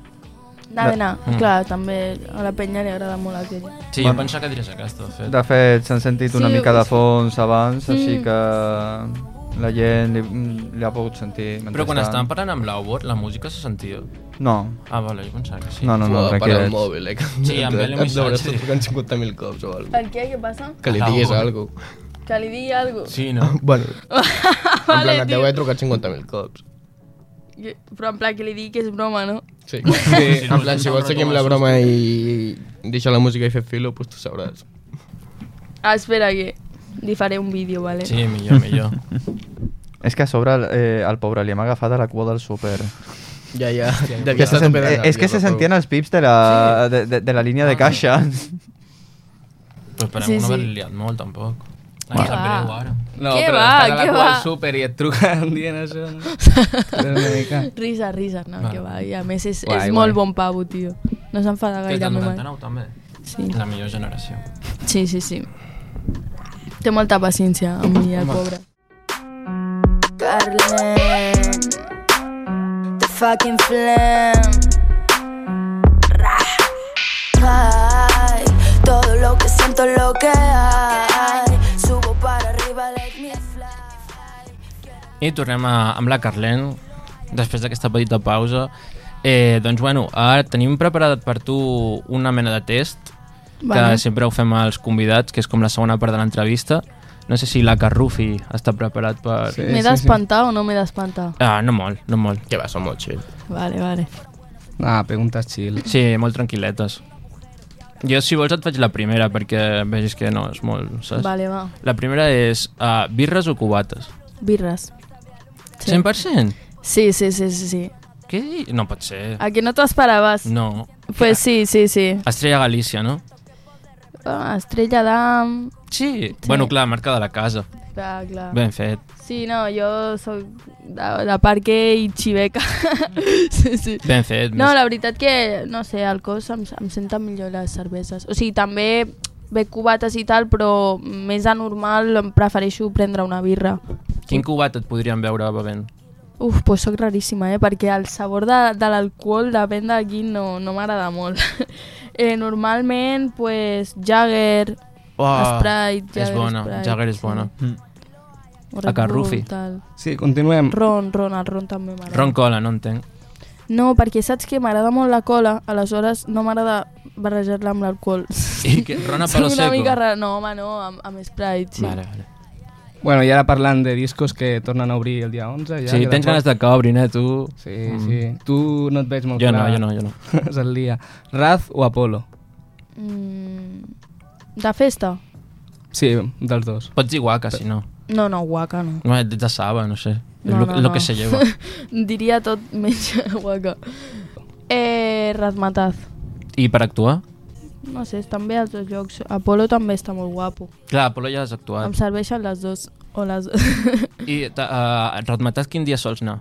S7: N'ha d'anar,
S5: Mm.
S7: clar, també a la penya li agrada molt aquella.
S6: Sí,
S5: Bueno.
S6: bueno. jo pensava que diries aquesta, de fet.
S5: De fet, s'han sentit una
S7: Sí,
S5: mica
S7: ho-
S5: de fons abans, mm. així
S7: Mm.
S5: que la gent li, mm, li ha pogut sentir.
S6: Però quan
S5: mentrestant.
S6: estàvem parlant amb l'Aubot, la música se sentia?
S5: No.
S6: Ah, vale, jo pensava que sí.
S5: No, no, no, Uah,
S9: Para el
S5: tranquil·lets.
S9: mòbil, eh? Que
S6: Sí, em ve el
S9: Et deuràs
S6: missatge. Ah,
S9: trucant 50.000 cops o alguna
S7: Per què? Què passa?
S9: Que li diguis alguna
S7: Que li digui alguna cosa?
S6: Sí, no?
S9: bueno, en plan,
S7: vale,
S9: et
S7: tio.
S9: deu haver trucat 50.000 cops.
S7: Jo- Però en plan que li digui que és broma, no?
S9: Sí. sí. En plan, si vols seguir amb la broma i deixar la música i fer filo, doncs tu sabràs.
S7: Ah, espera que li faré un vídeo, vale?
S5: És que a sobre eh, al pobre li hem agafat a la cua del súper.
S9: Ja, ja.
S5: Que se sent, eh, és que se sentien els pips de la, de, de, de la línia de caixa.
S6: Però esperem sí, sí.
S5: Sí,
S6: no
S5: sí.
S6: haver-li liat molt, tampoc.
S5: Què
S6: Ai, em sap
S7: va?
S6: greu, ara.
S8: No,
S7: Què
S8: però
S7: va?
S8: estan a
S7: Què
S8: la cua
S7: va?
S8: al súper i et truquen dient això. no? Però una mica.
S7: Risa, risa, no,
S8: Va.
S7: que va. I a més és,
S8: Guai,
S7: és
S8: guai.
S7: molt bon pavo, tio. No
S6: Que
S7: s'enfada
S6: és
S7: gaire
S6: del
S7: amb mi mai.
S6: 99, també.
S7: Sí.
S6: És la millor generació.
S7: Sí, sí, sí. Té molta paciència amb mi, el
S6: Home.
S7: pobre.
S12: Carlen, the fucking flame. Rah. Ay, todo lo que siento, lo que hay. Subo para arriba, let me fly.
S6: I tornem a, amb la Carlen, després d'aquesta petita pausa. Eh, doncs bueno, ara tenim preparat per tu una mena de test
S3: Vale.
S6: que sempre ho fem als convidats, que és com la segona part de l'entrevista. No sé si la Carrufi està preparat per...
S7: Eh, Sí, m'he d'espantar o no m'he d'espantar?
S6: Ah, no molt, no molt. Que va, som molt chill.
S7: Vale, vale.
S6: Ah, preguntes chill. Sí, molt tranquil·letes. Jo, si vols, et faig la primera, perquè vegis que no, és molt... Saps?
S7: Vale, va.
S6: La primera és uh, birres o cubates?
S7: Birres. Sí.
S6: 100%?
S7: Sí, sí, sí, sí, sí.
S6: Què dius? No pot ser.
S7: ¿A que no te esperabas?
S6: No.
S7: Pues sí, sí, sí.
S6: Estrella Galícia, no?
S7: Ah, Estrella Damm...
S6: Sí. Bueno, clar, marca de la casa.
S7: Clar, clar.
S6: Ben fet.
S7: Sí, no, jo sóc de, de Parque i Xiveca. sí, sí.
S6: Ben fet,
S7: No,
S6: més-
S7: la veritat que, no sé, al cos em, em senten millor les cerveses. O sigui, també ve cubates i tal, però més anormal em prefereixo prendre una birra.
S6: Quin cubat et podríem veure bevent?
S7: Uf, pues sóc raríssima, eh? Perquè el sabor de, de l'alcohol, depèn d'aquí, no, no m'agrada molt. eh, normalment, pues, Jagger, Sprite,
S6: Ah,
S7: Jagger,
S6: és bona,
S7: Sprite,
S6: Jagger és bona. Mm.
S7: O Red
S6: A Carrufi.
S7: Bull, tal.
S8: Sí, continuem.
S7: Ron, ron, el ron també m'agrada.
S6: Mm. Ron Cola, no entenc.
S7: No, perquè saps que m'agrada molt la cola, aleshores no m'agrada barrejar-la amb l'alcohol.
S6: I que ron a palo
S7: Soc una
S6: seco.
S7: mica rara. No, home, no, amb, amb Sprite, sí.
S6: Vale, vale.
S8: Bueno, i ara parlant de discos que tornen a obrir el dia 11... Ja,
S6: Sí,
S8: queda
S6: tens
S8: poc.
S6: ganes de que obrin, eh, tu?
S8: Sí, sí. Tu no et veig molt
S6: Jo no,
S8: clar.
S6: jo no, jo no.
S8: És el dia. Raz o Apolo?
S7: Mm, De festa?
S8: Sí, dels dos.
S6: Pots dir guaca, si no.
S7: No, no, guaca, no.
S6: No, ets de Saba, no sé. És
S7: No,
S6: lo,
S7: no,
S6: lo
S7: no.
S6: que se lleva.
S7: Diria tot menys guaca. Eh, Razmataz.
S6: I per actuar?
S7: No sé, estan bé els dos jocs. Apolo també està molt guapo.
S6: Clar, Apolo ja has
S7: Em
S6: actuat.
S7: serveixen les dos. O les...
S6: I ta- eh, Ratmatàs quin dia sols anar?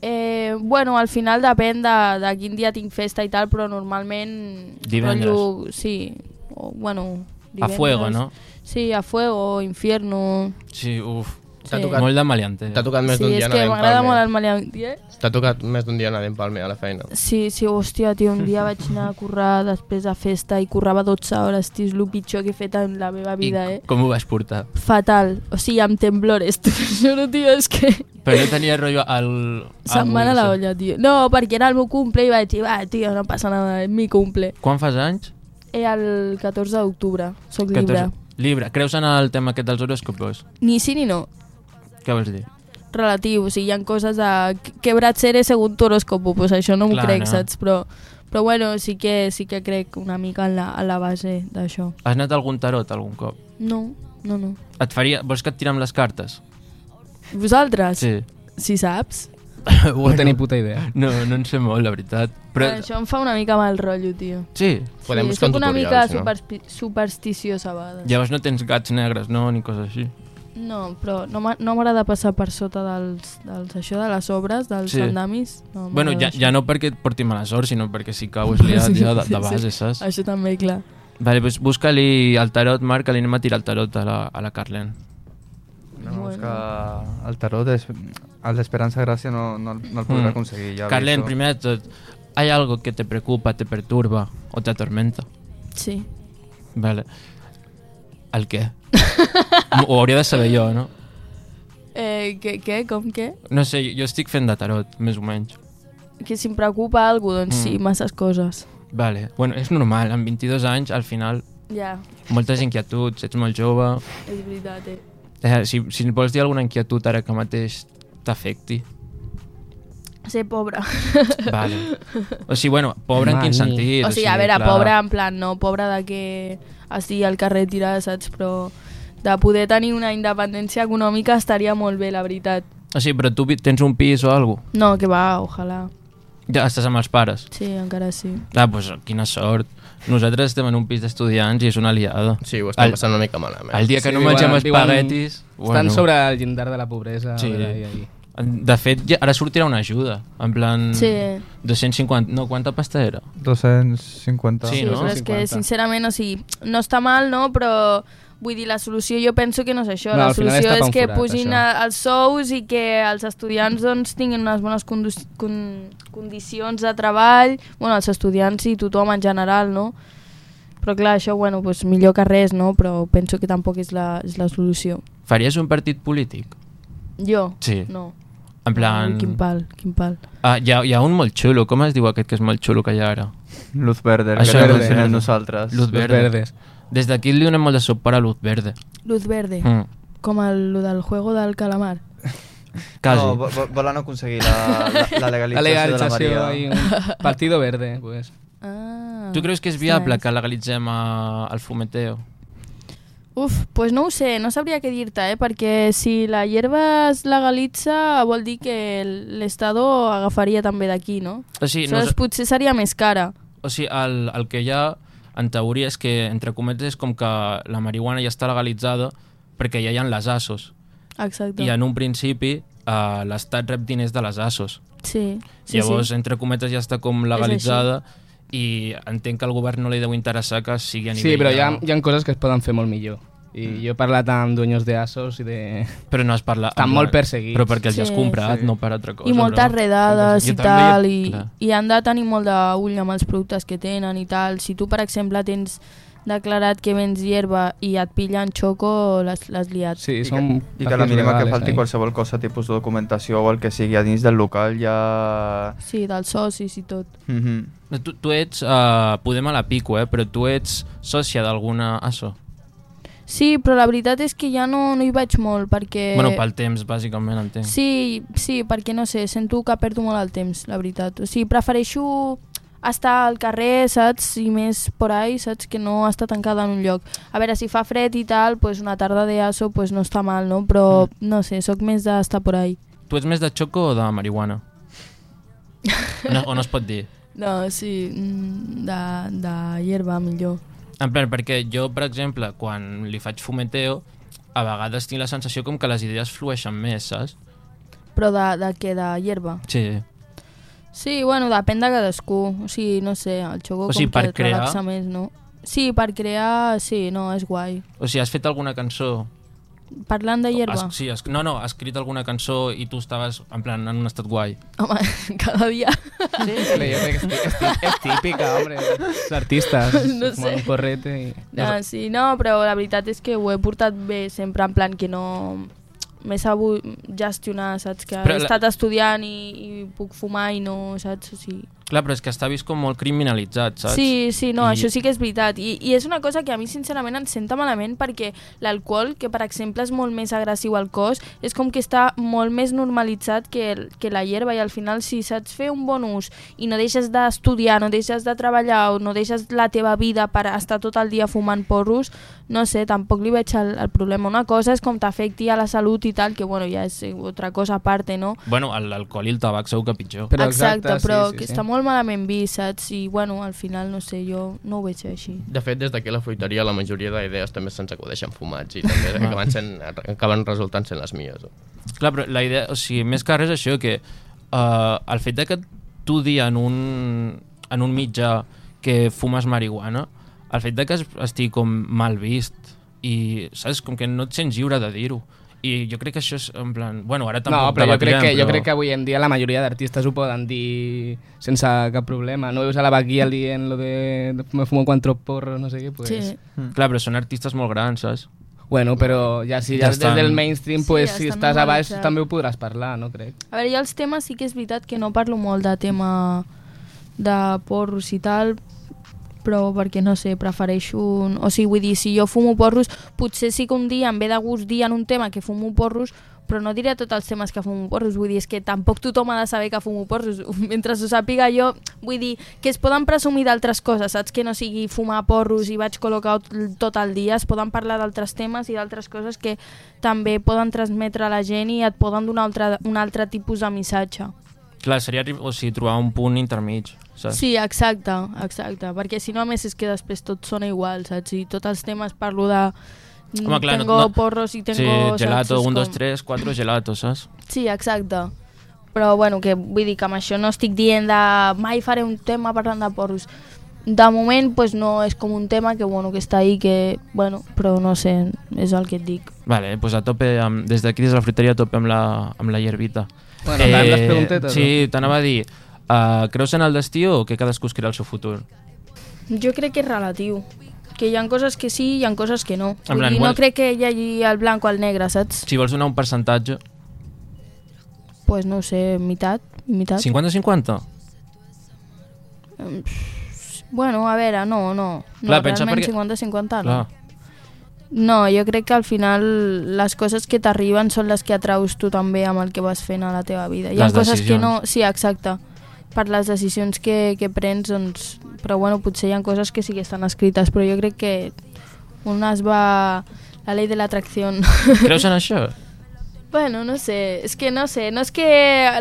S7: eh, bueno, al final depèn de, de quin dia tinc festa i tal, però normalment...
S6: Divendres.
S7: rotllo- sí, o, bueno...
S6: A fuego, no?
S7: Sí, a fuego, infierno...
S6: Sí, uf.
S9: T'ha
S7: Sí.
S9: tocat-
S6: Molt de maleante.
S9: T'ha tocat més
S7: Sí,
S9: d'un
S7: és
S9: dia
S7: que
S9: anar
S7: m'agrada molt
S9: d'empalme.
S7: el maleantí, eh?
S9: T'ha tocat més d'un dia anar d'empalme a la feina.
S7: Sí, sí, hòstia, tio, un dia vaig anar a currar després de festa i currava 12 hores, tio, és el pitjor que he fet en la meva vida, eh?
S6: Com ho vas portar?
S7: Fatal, o sigui, amb temblores, t'ho juro, tio, és que...
S6: Però no tenia rotllo el... Ah,
S7: Se'm va anar la olla, tio. No, perquè era el meu cumple i vaig dir, va, tio, no passa nada, és mi cumple.
S6: Quan fas anys?
S7: Eh, el 14 d'octubre, sóc llibre.
S6: 14. Llibre. Creus en el tema aquest dels horòscopos?
S7: Ni sí ni no,
S6: Què vols dir?
S7: relatiu, o sigui, hi ha coses de... Quebrat seré segon tu horòscopo, pues això no m'ho
S6: Clar,
S7: crec,
S6: no.
S7: saps? Però, però bueno, sí que, sí que crec una mica en la, en la base d'això.
S6: Has anat a algun tarot algun cop?
S7: No, no, no.
S6: Et faria... Vols que et tirem les cartes?
S7: Vosaltres?
S6: Sí.
S7: Si saps?
S6: bueno,
S8: tenia puta idea.
S6: No, no en sé molt, la veritat. Però...
S7: Ah, Això em fa una mica mal rotllo, tio.
S6: Sí.
S7: sí, soc una mica supersti supersticiosa a vegades.
S6: Llavors no tens gats negres, no? Ni coses així.
S7: No, però no m'ha- no m'agrada passar per sota dels, dels això, de les obres, dels
S6: Sí.
S7: sandamis. No,
S6: bueno,
S7: m'agrada
S6: ja, ja no perquè et porti mala sort, sinó perquè sí que ho has liat ja de, de base, saps?
S7: Això també, clar.
S6: Vale, pues busca-li el tarot, Marc, que li anem a tirar el tarot a la, a la Carlen.
S5: No, és que el tarot, és, el d'Esperança Gràcia no, no, el- no el
S6: Mm.
S5: podrà aconseguir. Ja
S6: Carlen,
S5: aviso.
S6: primer de tot, hay algo que te preocupa, te perturba o te atormenta?
S7: Sí.
S6: Vale. El què? Ho hauria de saber jo, no?
S7: Eh, què, què? Com què?
S6: No sé, jo estic fent de tarot, més o menys.
S7: Que si em preocupa alguna
S6: Mm.
S7: doncs sí, masses coses.
S6: Vale. Bueno, és normal, amb 22 anys, al final,
S7: Ja,
S6: moltes inquietuds, ets molt jove...
S7: és veritat, eh?
S6: Eh, si, si vols dir alguna inquietud ara que mateix t'afecti,
S7: Ser pobre.
S6: Vale. O sigui, bueno, pobre en
S4: Mani.
S6: quin sentit?
S7: o sigui, a veure, pobre en plan, no, pobre de que estigui al carrer tirada, saps? Però de poder tenir una independència econòmica estaria molt bé, la veritat.
S6: O sigui, però tu vi- tens un pis o alguna cosa?
S7: No, que va, ojalà.
S6: Ja estàs amb els pares?
S7: Sí, encara sí.
S6: Ah, doncs pues, quina sort. Nosaltres estem en un pis d'estudiants i és una aliada.
S9: Sí, ho estem passant una mica malament.
S6: El dia que
S9: Sí,
S6: sí, no
S9: diuen-
S6: mengem
S9: diuen-
S6: espaguetis...
S9: estan
S6: Bueno,
S8: sobre el llindar de la pobresa.
S6: Sí.
S8: Sí. Ahí, ahí.
S6: De fet, ja, ara sortirà una ajuda. En plan...
S7: Sí.
S6: 250... No, quanta pasta era?
S5: 250.
S6: Sí, no?
S7: Però és que, sincerament, o sigui, no està mal, no? Però, vull dir, la solució jo penso que no és això.
S8: No,
S7: la
S8: al final és
S7: solució
S8: tapar
S7: és
S8: un
S7: que
S8: forat,
S7: pugin
S8: això.
S7: a- els sous i que els estudiants doncs, tinguin unes bones condu- con condicions de treball, bueno, els estudiants i tothom en general, no? Però clar, això, bueno, doncs millor que res, no? Però penso que tampoc és la, és la solució.
S6: Faries un partit polític?
S7: Jo?
S6: Sí.
S7: No.
S6: En plan...
S7: Ui, quin pal, quin pal.
S6: Ah, hi ha, hi ha un molt xulo. Com es diu aquest que és molt xulo que hi ha ara?
S5: Luz Verde, que
S6: Això,
S5: també
S6: Luz
S5: el tenim
S6: Verde.
S5: nosaltres.
S6: Luz
S5: Luz
S6: Verde.
S5: Verde.
S6: Des d'aquí li donem molt de suport a Luz Verde.
S7: Luz verde.
S6: Mm.
S7: Com el, lo del juego del calamar.
S6: Quasi.
S5: No, vo- vo- volen aconseguir la, la, la legalització, de la
S8: y
S5: Maria.
S8: un partido verde, pues.
S7: Ah.
S6: Tu creus que és viable que legalitzem a, el fumeteo?
S7: Uf, pues no ho sé, no sabria què dir-te, eh? perquè si la hierba es legalitza vol dir que l'Estado agafaria també d'aquí, no?
S6: O sigui, no
S7: Aleshores,
S6: és-
S7: potser seria més cara.
S6: O sigui, el, el que hi ha, en teoria, és que, entre cometes, és com que la marihuana ja està legalitzada perquè ja hi ha les ASOS.
S7: Exacte.
S6: I en un principi eh, l'Estat rep diners de les ASOS.
S7: Sí, sí,
S6: Llavors,
S7: sí.
S6: entre cometes, ja està com
S8: És
S6: legalitzada i entenc que al govern no li deu interessar que sigui a nivell...
S8: Sí, però hi ha,
S6: de-
S8: hi ha coses que es poden fer molt millor. I
S5: Mm.
S8: jo he parlat amb dueños de asos i de...
S6: Però no has parlat...
S8: Estan
S6: amb
S8: molt
S6: la-
S8: perseguits.
S6: Però perquè els sí, has
S7: Sí.
S6: comprat,
S8: Sí.
S6: sí. no per altra cosa.
S7: I moltes
S6: però-
S7: redades
S6: Jo
S7: i
S6: també
S7: tal,
S6: hi-
S7: i,
S6: clar.
S7: i han de tenir molt d'ull amb els productes que tenen i tal. Si tu, per exemple, tens declarat que vens hierba i et pillen xoco, l'has l'has liat.
S8: Sí,
S5: I que, i que a la mínima que falti qualsevol cosa, tipus de documentació o el que sigui a dins del local ja...
S7: Sí, dels socis i tot.
S5: Mhm.
S6: Tu, tu ets, uh, podem a la pico, eh, però tu ets sòcia d'alguna ASO.
S7: Sí, però la veritat és que ja no, no hi vaig molt, perquè...
S6: Eh... Bueno, pel temps, bàsicament, entenc.
S7: Sí, sí, perquè no sé, sento que perdo molt el temps, la veritat. O sigui, prefereixo estar al carrer, saps? I més por ahí, saps? Que no estar tancada en un lloc. A veure, si fa fred i tal, pues una tarda de aso pues no està mal, no? Però, no sé, sóc més d'estar por ahí.
S6: Tu ets més de xoco o de marihuana? O no, o no es pot dir?
S7: No, sí, mm, de, de hierba millor.
S6: En plan, perquè jo, per exemple, quan li faig fumeteo, a vegades tinc la sensació com que les idees flueixen més, saps?
S7: Però de, de què? De hierba?
S6: Sí.
S7: Sí, bueno, depèn de cadascú. O sigui, no sé, el xoco
S6: O sigui,
S7: com que
S6: per
S7: et
S6: crear?
S7: relaxa més, no? Sí, per crear, sí, no, és guai.
S6: O sigui, has fet alguna cançó...
S7: Parlant de hierba,
S6: Has, sí, has, no, no, has escrit alguna cançó i tu estaves, en plan, en un estat guai.
S7: home, cada dia...
S8: Sí, però jo crec que és, tí- és típica, home. Els artistes
S7: No
S8: es fumen
S7: sé.
S8: un porrete i...
S7: No, sí, no, però la veritat és que ho he portat bé sempre, en plan que no... M'he sabut gestionar, saps? Que
S6: Però
S7: he
S6: la-
S7: estat estudiant i, i puc fumar i no, saps? O sigui,
S6: Clar, però és que està vist com molt criminalitzat, saps?
S7: Sí, sí, no,
S6: I-
S7: I... això sí que és veritat. I, I és una cosa que a mi, sincerament, em senta malament perquè l'alcohol, que per exemple és molt més agressiu al cos, és com que està molt més normalitzat que, el- que la hierba i al final si saps fer un bon ús i no deixes d'estudiar, no deixes de treballar o no deixes la teva vida per estar tot el dia fumant porros, no sé, tampoc li veig el, el problema. Una cosa és com t'afecti a la salut i tal, que bueno, ja és eh, altra cosa a part, no?
S6: Bueno, el- l'alcohol i el tabac segur que pitjor.
S7: Però exacte, però que està molt molt malament vist, saps? I, bueno, al final, no sé, jo no ho veig així.
S9: De fet, des d'aquí a la fruiteria la majoria d'idees també se'ns acudeixen fumats i també acaben, sent, acaben resultant sent les millors.
S6: Clar, però la idea, o sigui, més que res això, que uh, el fet de que tu dir en un, en un mitjà que fumes marihuana, el fet de que es- estigui com mal vist i saps, com que no et sents lliure de dir-ho. I jo crec que això és en plan... Bueno, ara tampoc
S8: No, però jo crec,
S6: debatirem,
S8: que, jo
S6: però-
S8: crec que avui en dia la majoria d'artistes ho poden dir sense cap problema. No veus a la vaquilla dient lo de me fumo cuatro porros, no sé què, pues...
S6: Sí. Mm. Clar, però són artistes molt grans, saps?
S8: Bueno, però ja si ja, ja des del mainstream,
S7: Sí,
S8: pues,
S7: ja
S8: si
S7: estan
S8: estàs a baix
S7: normalitzats.
S8: també ho podràs parlar, no crec.
S7: A veure, jo els temes sí que és veritat que no parlo molt de tema de porros i tal, però perquè no sé, prefereixo... Un... O sigui, vull dir, si jo fumo porros, potser sí que un dia em ve de gust dir en un tema que fumo porros, però no diré tots els temes que fumo porros, vull dir, és que tampoc tothom ha de saber que fumo porros. Mentre ho sàpiga jo, vull dir, que es poden presumir d'altres coses, saps? Que no sigui fumar porros i vaig col·locar tot el dia, es poden parlar d'altres temes i d'altres coses que també poden transmetre a la gent i et poden donar altre, un altre tipus de missatge.
S6: Clar, seria arri- o sigui, trobar un punt intermig, saps?
S7: Sí, exacte, exacte, perquè si no a més és que després tot sona igual, saps? I tots els temes parlo de mm,
S6: Home, clar,
S7: tengo porros i tengo...
S6: Sí,
S7: saps?
S6: gelato,
S7: És
S6: un, dos,
S7: com-
S6: tres, quatre gelatos, saps?
S7: Sí, exacte. Però, bueno, que vull dir que amb això no estic dient de mai faré un tema parlant de porros. De moment, pues, no és com un tema que, bueno, que està ahí, que, bueno, però no sé, és el que et dic.
S6: Vale, pues a tope, amb, des d'aquí, des de la fruiteria, a tope amb la, amb la hierbita. Eh,
S8: Bueno, tant les preguntetes, eh?
S6: Sí, t'anava a dir, uh, creus en el destí o que cadascú escriurà el seu futur?
S7: Jo crec que és relatiu. Que hi ha coses que sí i hi ha coses que no.
S6: En
S7: Vull
S6: plan,
S7: dir,
S6: bueno-
S7: no crec que hi hagi el blanc o el negre, saps?
S6: Si vols donar un percentatge,
S7: Pues no ho sé, mitat, mitat.
S6: 50-50?
S7: Em, pff, Bueno, a veure, no, no. no
S6: Clar, pensa
S7: realment
S6: perquè-
S7: 50-50 no.
S6: Clar.
S7: No, jo crec que al final les coses que t'arriben són les que atraus tu també amb el que vas fent a la teva vida. Hi ha
S6: Les
S7: coses que
S6: decisions.
S7: no... Sí, exacte. Per les decisions que, que prens, doncs... Però bueno, potser hi ha coses que sí que estan escrites, però jo crec que un es va... La ley de la atracción.
S6: Creus en això?
S7: Bueno, no sé, és que no sé, no és que,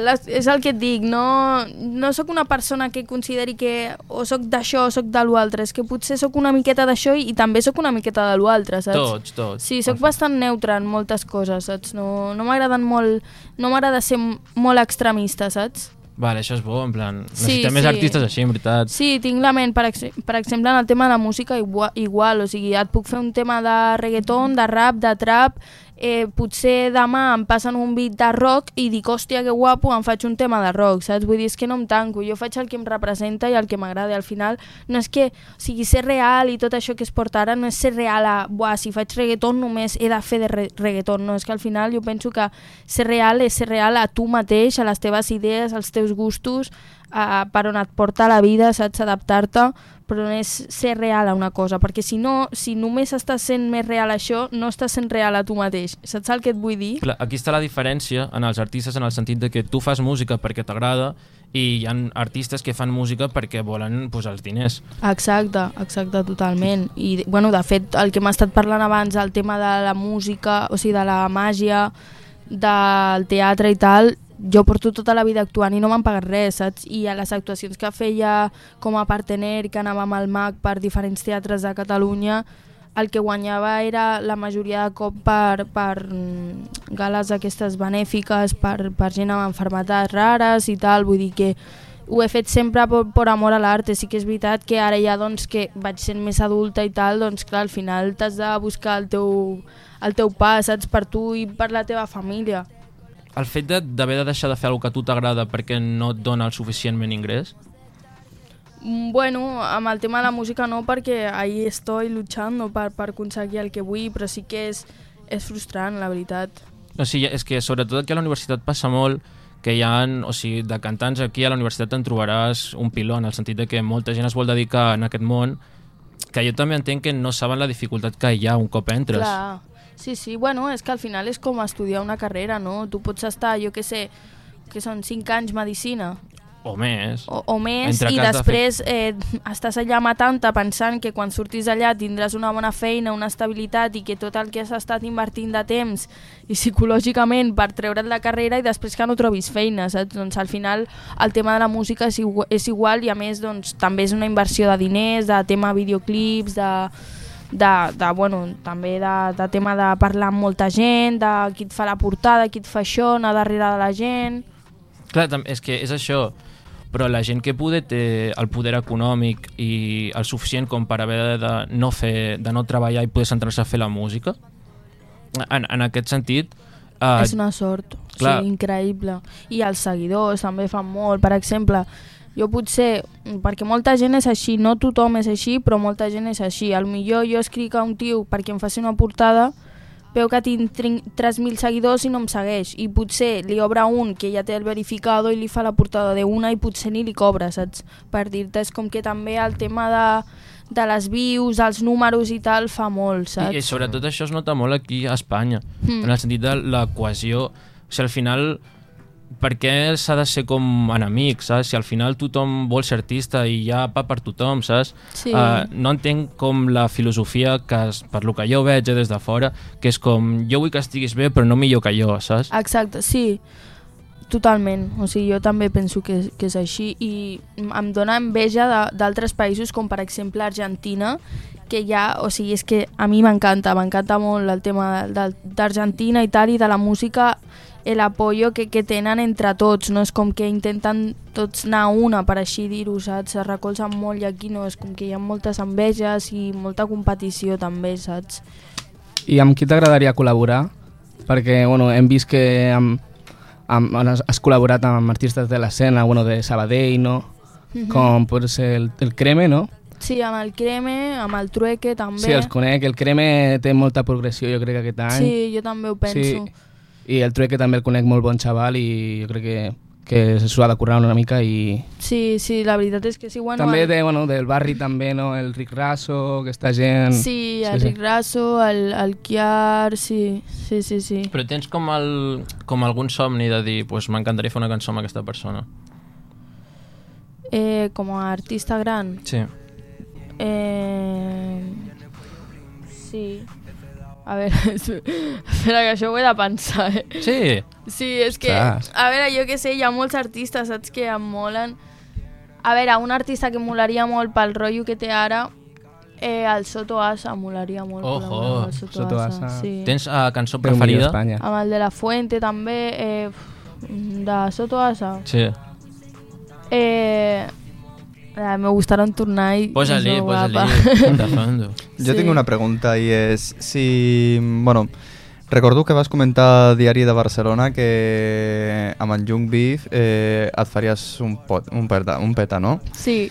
S7: les- és el que et dic, no, no sóc una persona que consideri que o sóc d'això o sóc de l'altre, és que potser sóc una miqueta d'això i, i també sóc una miqueta de l'altre, saps?
S6: Tots, tots.
S7: Sí, sóc bastant neutra en moltes coses, saps? No, no m'agraden molt, no m'agrada ser m- molt extremista, saps?
S6: Vale, això és bo, en plan,
S7: Sí,
S6: necessitem més
S7: sí.
S6: artistes així, en veritat.
S7: Sí, tinc la ment, per, ex per exemple, en el tema de la música igual, igual, o sigui, et puc fer un tema de reggaeton, de rap, de trap, eh, potser demà em passen un beat de rock i dic, hòstia, que guapo, em faig un tema de rock, saps? Vull dir, és que no em tanco, jo faig el que em representa i el que m'agrada, al final no és que, o sigui, ser real i tot això que es porta ara no és ser real a, buah, si faig reggaeton només he de fer de re reggaeton, no, és que al final jo penso que ser real és ser real a tu mateix, a les teves idees, als teus gustos, a, per on et porta la vida, saps? Adaptar-te, però no és ser real a una cosa, perquè si no, si només estàs sent més real a això, no estàs sent real a tu mateix. Saps el que et vull dir?
S6: Clar, aquí està la diferència en els artistes en el sentit de que tu fas música perquè t'agrada i hi ha artistes que fan música perquè volen pues, els diners.
S7: Exacte, exacte, totalment. I, bueno, de fet, el que hem estat parlant abans, el tema de la música, o sigui, de la màgia, del teatre i tal, jo porto tota la vida actuant i no m'han pagat res, saps? I a les actuacions que feia com a partener, que anava amb el MAC per diferents teatres de Catalunya, el que guanyava era la majoria de cop per, per mm, gales aquestes benèfiques, per, per gent amb enfermetats rares i tal, vull dir que ho he fet sempre per, per amor a l'art, sí que és veritat que ara ja doncs, que vaig sent més adulta i tal, doncs clar, al final t'has de buscar el teu, el teu pas, saps, per tu i per la teva família.
S6: El fet de- d'haver de, de deixar de fer el que a tu t'agrada perquè no et dona el suficientment ingrés,
S7: Mm, Bueno, amb el tema de la música no, perquè ahí estoy luchando per, per aconseguir el que vull, però sí que és, és frustrant, la veritat.
S6: O sigui, és que sobretot aquí a la universitat passa molt que hi ha, o sigui, de cantants aquí a la universitat en trobaràs un piló en el sentit de que molta gent es vol dedicar en aquest món que jo també entenc que no saben la dificultat que hi ha un cop entres.
S7: Clar. Sí, sí, bueno, és que al final és com estudiar una carrera, no? Tu pots estar, jo què sé, que són 5 anys medicina,
S6: O més.
S7: O, o més,
S6: Entre
S7: i
S6: que has de
S7: després eh, estàs allà matant-te pensant que quan surtis allà tindràs una bona feina, una estabilitat i que tot el que has estat invertint de temps i psicològicament per treure't la carrera i després que no trobis feina, saps? Doncs al final el tema de la música és, igu- és igual i a més doncs, també és una inversió de diners, de tema videoclips, de de, de, bueno, també de, de tema de parlar amb molta gent, de qui et fa la portada, qui et fa això, anar darrere de la gent...
S6: Clar, tam- és que és això. Però la gent que poder té el poder econòmic i el suficient com per haver de no, fer, de no treballar i poder centrar-se a fer la música, en, en aquest sentit... eh,
S7: és una sort,
S6: clar.
S7: sí, increïble. I els seguidors també fan molt, per exemple, jo potser, perquè molta gent és així, no tothom és així, però molta gent és així. Al millor jo escric a un tio perquè em faci una portada, veu que tinc trin- 3.000 seguidors i no em segueix, i potser li obre un que ja té el verificado i li fa la portada d'una i potser ni li cobra, saps? Per dir-te, és com que també el tema de, de les views, els números i tal, fa molt, saps?
S6: I, I sobretot això es nota molt aquí a Espanya,
S7: Mm.
S6: mm. en el sentit de la cohesió. O sigui, al final, per què s'ha de ser com enemics, saps? Si al final tothom vol ser artista i hi ha pa per tothom, saps?
S7: Sí.
S6: Eh, no entenc com la filosofia, que es, per lo que jo veig eh, des de fora, que és com, jo vull que estiguis bé, però no millor que jo,
S7: Ah.
S6: saps?
S7: Exacte, sí, totalment. O sigui, jo també penso que, és- que és així i em dóna enveja de- d'altres països com per exemple Argentina, que ja, o sigui, és que a mi m'encanta, m'encanta molt el tema del- d'Argentina i tal, i de la música, el apoyo que, que tenen entre tots, no és com que intenten tots anar a una, per així dir-ho, saps? Es recolzen molt i aquí no, és com que hi ha moltes enveges i molta competició també, saps?
S8: I amb qui t'agradaria col·laborar? Perquè, bueno, hem vist que amb, amb, has, has col·laborat amb artistes de l'escena, bueno, de Sabadell, no?
S7: Mhm.
S8: Com pot ser el, el Creme, no?
S7: Sí, amb el Creme, amb el Trueque també.
S8: Sí, els conec. El Creme té molta progressió, jo crec, aquest any.
S7: Sí, jo també ho penso. Sí.
S8: I el Trueque també el conec molt bon xaval i jo crec que, que s'ho ha de currar una mica i...
S7: Sí, sí, la veritat és que sí. Bueno,
S8: també
S7: el,
S8: de, bueno, del barri també, no? El Ric Raso, aquesta gent...
S7: Sí, el Ric Raso, el, el Kiar, sí, sí, sí, sí.
S6: Però tens com, el, com algun somni de dir, pues, m'encantaria fer una cançó amb aquesta persona.
S7: Eh, com a artista gran.
S6: Sí.
S7: Eh, sí. A veure, espera que això ho he de pensar, eh?
S6: Sí.
S7: Sí, és que,
S6: Ostres.
S7: a veure, jo que sé, hi ha molts artistes, saps, que em molen. A veure, un artista que em molaria molt pel rotllo que té ara, eh, el Soto Asa, em molaria molt. col·laborar amb
S6: Ojo.
S7: el Soto, Asa. Sí.
S6: Tens uh, cançó
S8: Déu millor
S6: preferida?
S8: Espanya.
S7: Amb el de la Fuente també, eh, de Soto Asa.
S6: Sí.
S7: Eh, eh, me gustaron tornar i...
S6: Posa-li,
S7: i soy
S6: posa-li,
S7: guapa.
S6: de fondo.
S5: Yo
S7: Sí.
S5: tengo una pregunta y es si, bueno, recordo que vas comentar a Diari de Barcelona que amb el Jung Beef eh, et faries un, pot, un, peta, un peta, no?
S7: Sí,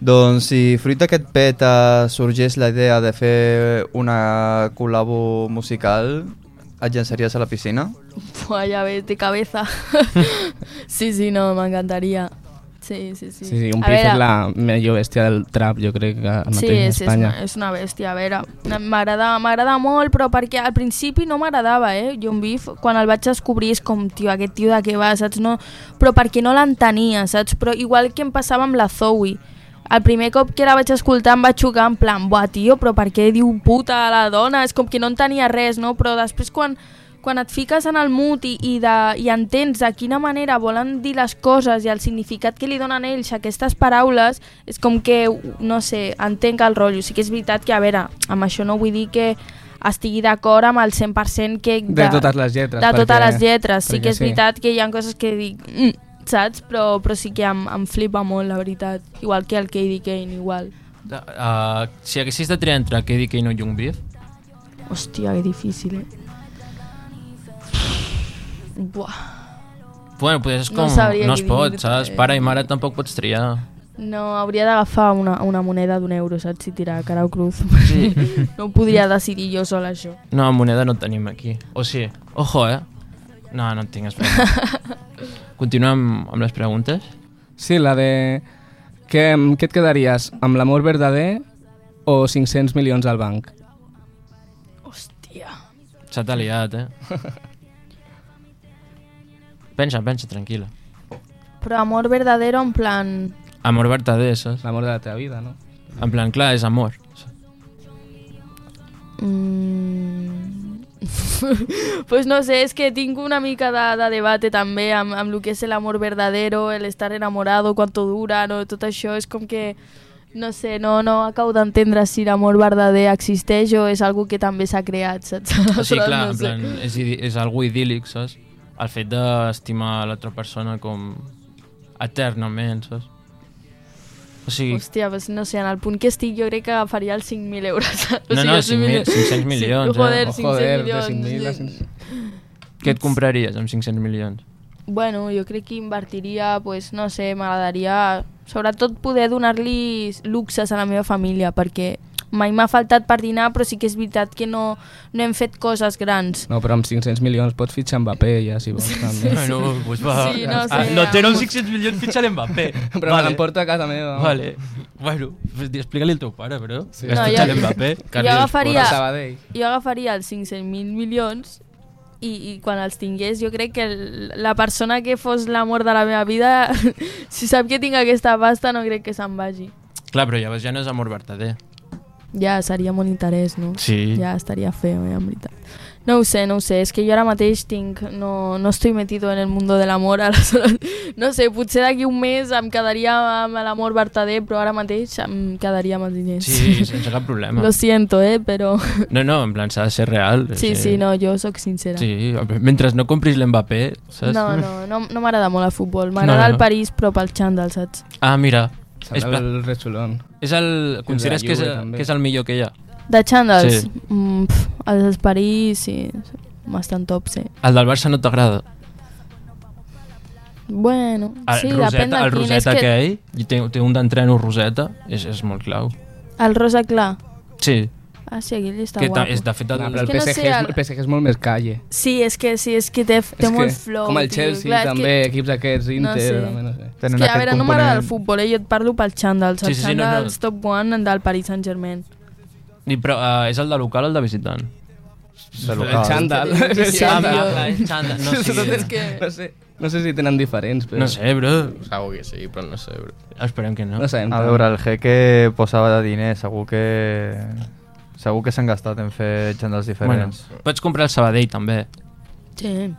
S5: Doncs si fruit d'aquest peta sorgeix la idea de fer una col·labo musical, et llançaries a la piscina?
S7: Buah, pues ya ves, de cabeza. sí, sí, no, me encantaría. Sí, sí, sí.
S8: Sí, sí, un
S7: A
S8: Pif
S7: veure,
S8: és la millor bèstia del trap, jo crec, que ara
S7: Sí,
S8: mateix a
S7: és, és,
S8: Espanya.
S7: una, és una bèstia, a veure, m'agrada m'agrada molt, però perquè al principi no m'agradava, eh, John Beef, quan el vaig descobrir és com, tio, aquest tio de què va, saps, no, però perquè no l'entenia, saps, però igual que em passava amb la Zoe, el primer cop que la vaig escoltar em va xocar en plan, buah, tio, però per què diu puta a la dona, és com que no entenia res, no, però després quan quan et fiques en el mood i, i, de, i entens de quina manera volen dir les coses i el significat que li donen ells a aquestes paraules, és com que, no sé, entenc el rotllo. Sí que és veritat que, a veure, amb això no vull dir que estigui d'acord amb el 100% que...
S8: De totes les lletres,
S7: De totes
S8: perquè-
S7: les lletres. Sí
S8: perquè
S7: que és
S8: sí.
S7: veritat que hi ha coses que dic... Mm, saps? Però, però sí que em, em flipa molt, la veritat. Igual que el Katie Kane, igual.
S6: Uh, si haguessis de triar entre Kedi Kane o Young Beef,
S7: Hòstia, que difícil, eh? Buah.
S6: bueno, pues és
S7: No
S6: com...
S7: sabria
S6: no es
S7: què
S6: pot,
S7: dir-te,
S6: saps?
S7: eh.
S6: Pare i mare tampoc pots triar.
S7: No, hauria d'agafar una, una moneda d'un euro, saps? I tirar cara o cruz.
S6: Sí.
S7: no ho podria decidir jo sola, això.
S6: No, moneda no tenim aquí. O sí, ojo, eh? No, no en tinc, espera. Continuem amb les preguntes?
S8: Sí, la de... Què, què et quedaries? Amb l'amor verdader o 500 milions al banc?
S6: Se t'ha liat, eh? pensa, pensa, tranquil·la.
S7: Però amor verdadero en plan...
S6: Amor verdader, saps?
S8: L'amor de la teva vida, no?
S6: En plan, clar, és amor.
S7: mm, pues no sé, és que tinc una mica de, de debate també amb, amb el que és l'amor verdadero, el estar enamorado, quanto dura, no? tot això és com que... No sé, no, no acabo d'entendre si l'amor verdader existeix o és algo que també s'ha creat, saps?
S6: Sí,
S7: Aleshores,
S6: clar,
S7: no
S6: en
S7: sé.
S6: plan, és, idi- és algo idíl·lic, saps? El fet d'estimar l'altra persona com eternament, saps? O sigui,
S7: Hòstia, pues no sé, en el punt que estic jo crec que agafaria els 5.000 euros.
S6: No,
S7: O sigui,
S6: no,
S7: els
S6: 5.000, 500 milions, eh?
S7: joder,
S6: Oh,
S7: 500
S6: joder, de
S7: milions.
S6: 5.000 a
S7: sí.
S6: què et compraries amb 500 milions?
S7: Bueno, jo crec que invertiria, pues, no sé, m'agradaria sobretot poder donar-li luxes a la meva família, perquè mai m'ha faltat per dinar, però sí que és veritat que no, no hem fet coses grans.
S8: No, però amb 500 milions pots fitxar Mbappé ja, si vols. també.
S6: Bueno, pues va.
S7: Sí, no sé,
S6: ah, no tenen
S7: vamos.
S6: 600 milions, fitxa l'Mbappé.
S8: Però me l'emporto a casa meva.
S6: Vale. Bueno, pues explica-li al teu pare, però. Sí.
S7: No,
S6: Has fitxat l'Mbappé.
S7: jo, agafaria, jo agafaria els 500.000 milions i, i quan els tingués jo crec que el- la persona que fos l'amor de la meva vida, si sap que tinc aquesta pasta no crec que se'n vagi.
S6: Clar, però llavors ja no és amor verdader.
S7: Ja seria molt interès, no?
S6: Sí.
S7: Ja estaria feo, eh, en veritat. No ho sé, no ho sé, és que jo ara mateix tinc, no, no estoy metido en el mundo del amor, aleshores, no sé, potser d'aquí un mes em quedaria amb l'amor verdader, però ara mateix em quedaria amb els diners.
S6: Sí, sense cap problema.
S7: Lo siento, eh, però...
S6: No, no, en plan, s'ha de ser real.
S7: Sí, sí, no, jo sóc sincera.
S6: Sí, mentre no compris l'Mbappé, saps?
S7: No, no, no, no m'agrada molt el futbol. M'agrada
S6: No,
S7: no,
S6: no.
S7: el París, però pel xandall, saps?
S6: Ah, mira.
S8: Serà el Rexulón.
S6: És el... Consideres
S8: la
S6: que és,
S8: Juve, també.
S6: que és el millor que hi ha?
S7: De xandalls?
S6: Sí.
S7: Mm, pf, els del París, sí, sí, bastant top, sí.
S6: El del Barça no t'agrada?
S7: Bueno,
S6: El
S7: sí, depèn
S6: Roseta,
S7: de
S6: el
S7: quin.
S6: Roseta
S7: és que...
S6: aquell, i té, té un d'entreno Roseta, és, és molt clau.
S7: El rosa clar.
S6: Sí.
S7: Ah, sí, aquell està
S6: Que ta-
S7: guapo.
S6: és de fet el- No,
S8: Ah, però el
S7: que no
S8: PSG,
S7: sé,
S8: és,
S7: el-
S8: el PSG és molt més calle.
S7: Sí, és que sí, és que té, té
S8: És
S7: molt
S8: que,
S7: flow.
S8: Com el
S7: tio,
S8: Chelsea,
S7: clar, és
S8: també, que... equips aquests,
S7: no
S8: Inter,
S7: sé.
S8: també, no sé.
S7: És que, a veure, no m'agrada el futbol, eh? jo et parlo pel xandall. Sí, sí, sí, no, no. top one del Paris Saint-Germain.
S6: I, però uh, és el de local o el de visitant?
S8: El local. xandall. Sí, sí,
S6: Ah,
S8: jo-
S6: va, el xandall. No, sí,
S8: És que- no sé. No sé si tenen diferents, però...
S6: No sé, bro.
S9: Segur que sí, però no sé, bro.
S6: Esperem que no.
S8: No sabem.
S5: A veure, el jeque posava de diners, segur que... Segur que s'han gastat en fer xandals
S6: Bueno,
S5: diferents.
S6: pots comprar el Sabadell, també.
S7: Sí,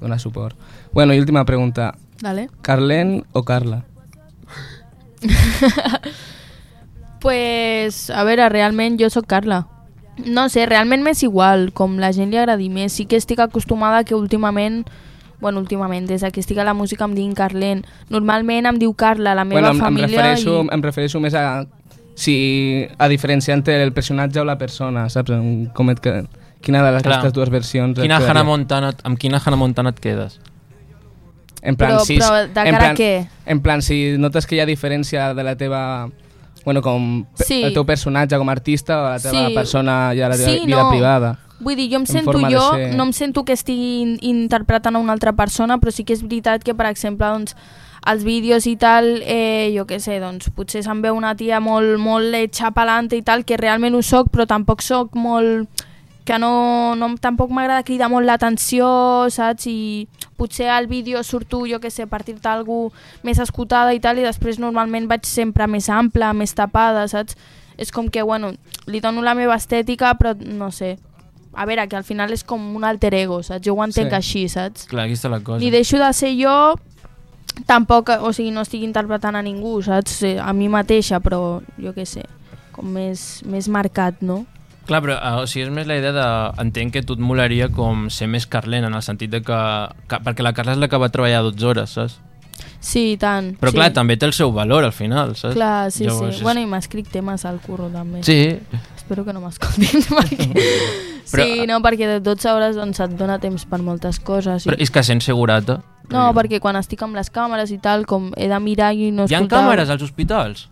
S8: Donar suport. Bueno, i última pregunta.
S7: Dale.
S8: Carlen o Carla?
S7: Pues, a veure, realment jo sóc Carla. No sé, realment m'és igual, com la gent li agradi més. Sí que estic acostumada que últimament, bueno, últimament, des que estic a la música em diguin Carlen. Normalment em diu Carla, la meva
S8: bueno, em, em,
S7: família...
S8: refereixo,
S7: i...
S8: em refereixo més a... Si a diferència entre el personatge o la persona, saps? En- Com et que, quina de les,
S6: Clar.
S8: aquestes dues versions... et
S6: Quina
S8: quedaria?
S6: Hannah Montana, amb quina Hannah Montana et quedes?
S8: En plan,
S7: Però-
S8: si,
S7: però de
S8: en
S7: cara a
S8: plan,
S7: què?
S8: En plan, si notes que hi ha diferència de la teva... Bueno, com pe-
S7: Sí.
S8: el teu personatge com a artista o la teva
S7: Sí.
S8: persona i a la teva
S7: Sí,
S8: vida
S7: no.
S8: privada.
S7: Vull dir, jo em
S8: en
S7: sento
S8: forma de
S7: jo,
S8: ser.
S7: no em sento que estigui in- interpretant a una altra persona, però sí que és veritat que, per exemple, doncs, els vídeos i tal, eh, jo què sé, doncs, potser se'n veu una tia molt, molt hecha pa'lante i tal, que realment ho soc, però tampoc soc molt que no, no tampoc m'agrada cridar molt l'atenció, saps? I potser al vídeo surto, jo que sé, per dir-te alguna més escotada i tal, i després normalment vaig sempre més ampla, més tapada, saps? És com que, bueno, li dono la meva estètica, però no sé. A veure, que al final és com un alter ego, saps? Jo ho entenc
S6: Sí.
S7: sí. així, saps?
S6: Clar, aquí està la cosa.
S7: Ni deixo de ser jo, tampoc, o sigui, no estic interpretant a ningú, saps? Eh, A mi mateixa, però jo què sé, com més, més marcat, no?
S6: Clar, però eh, o sigui, és més la idea de... Entenc que a tu et molaria com ser més Carlena, en el sentit de que... que perquè la Carla és la que va treballar 12 hores, saps?
S7: Sí, i tant.
S6: Però
S7: sí.
S6: clar, també té el seu valor al final, saps?
S7: Clar, sí,
S6: Llavors,
S7: sí.
S6: és-
S7: Bueno, i m'escric temes al curro també.
S6: Sí.
S7: Espero que no m'escoltin perquè...
S6: Però-
S7: sí, no, perquè de 12 hores doncs, et dona temps per moltes coses. I...
S6: Però és que sent segurata.
S7: No, perquè quan estic amb les càmeres i tal, com he de mirar i no
S6: Hi ha
S7: escoltar...
S6: càmeres als hospitals?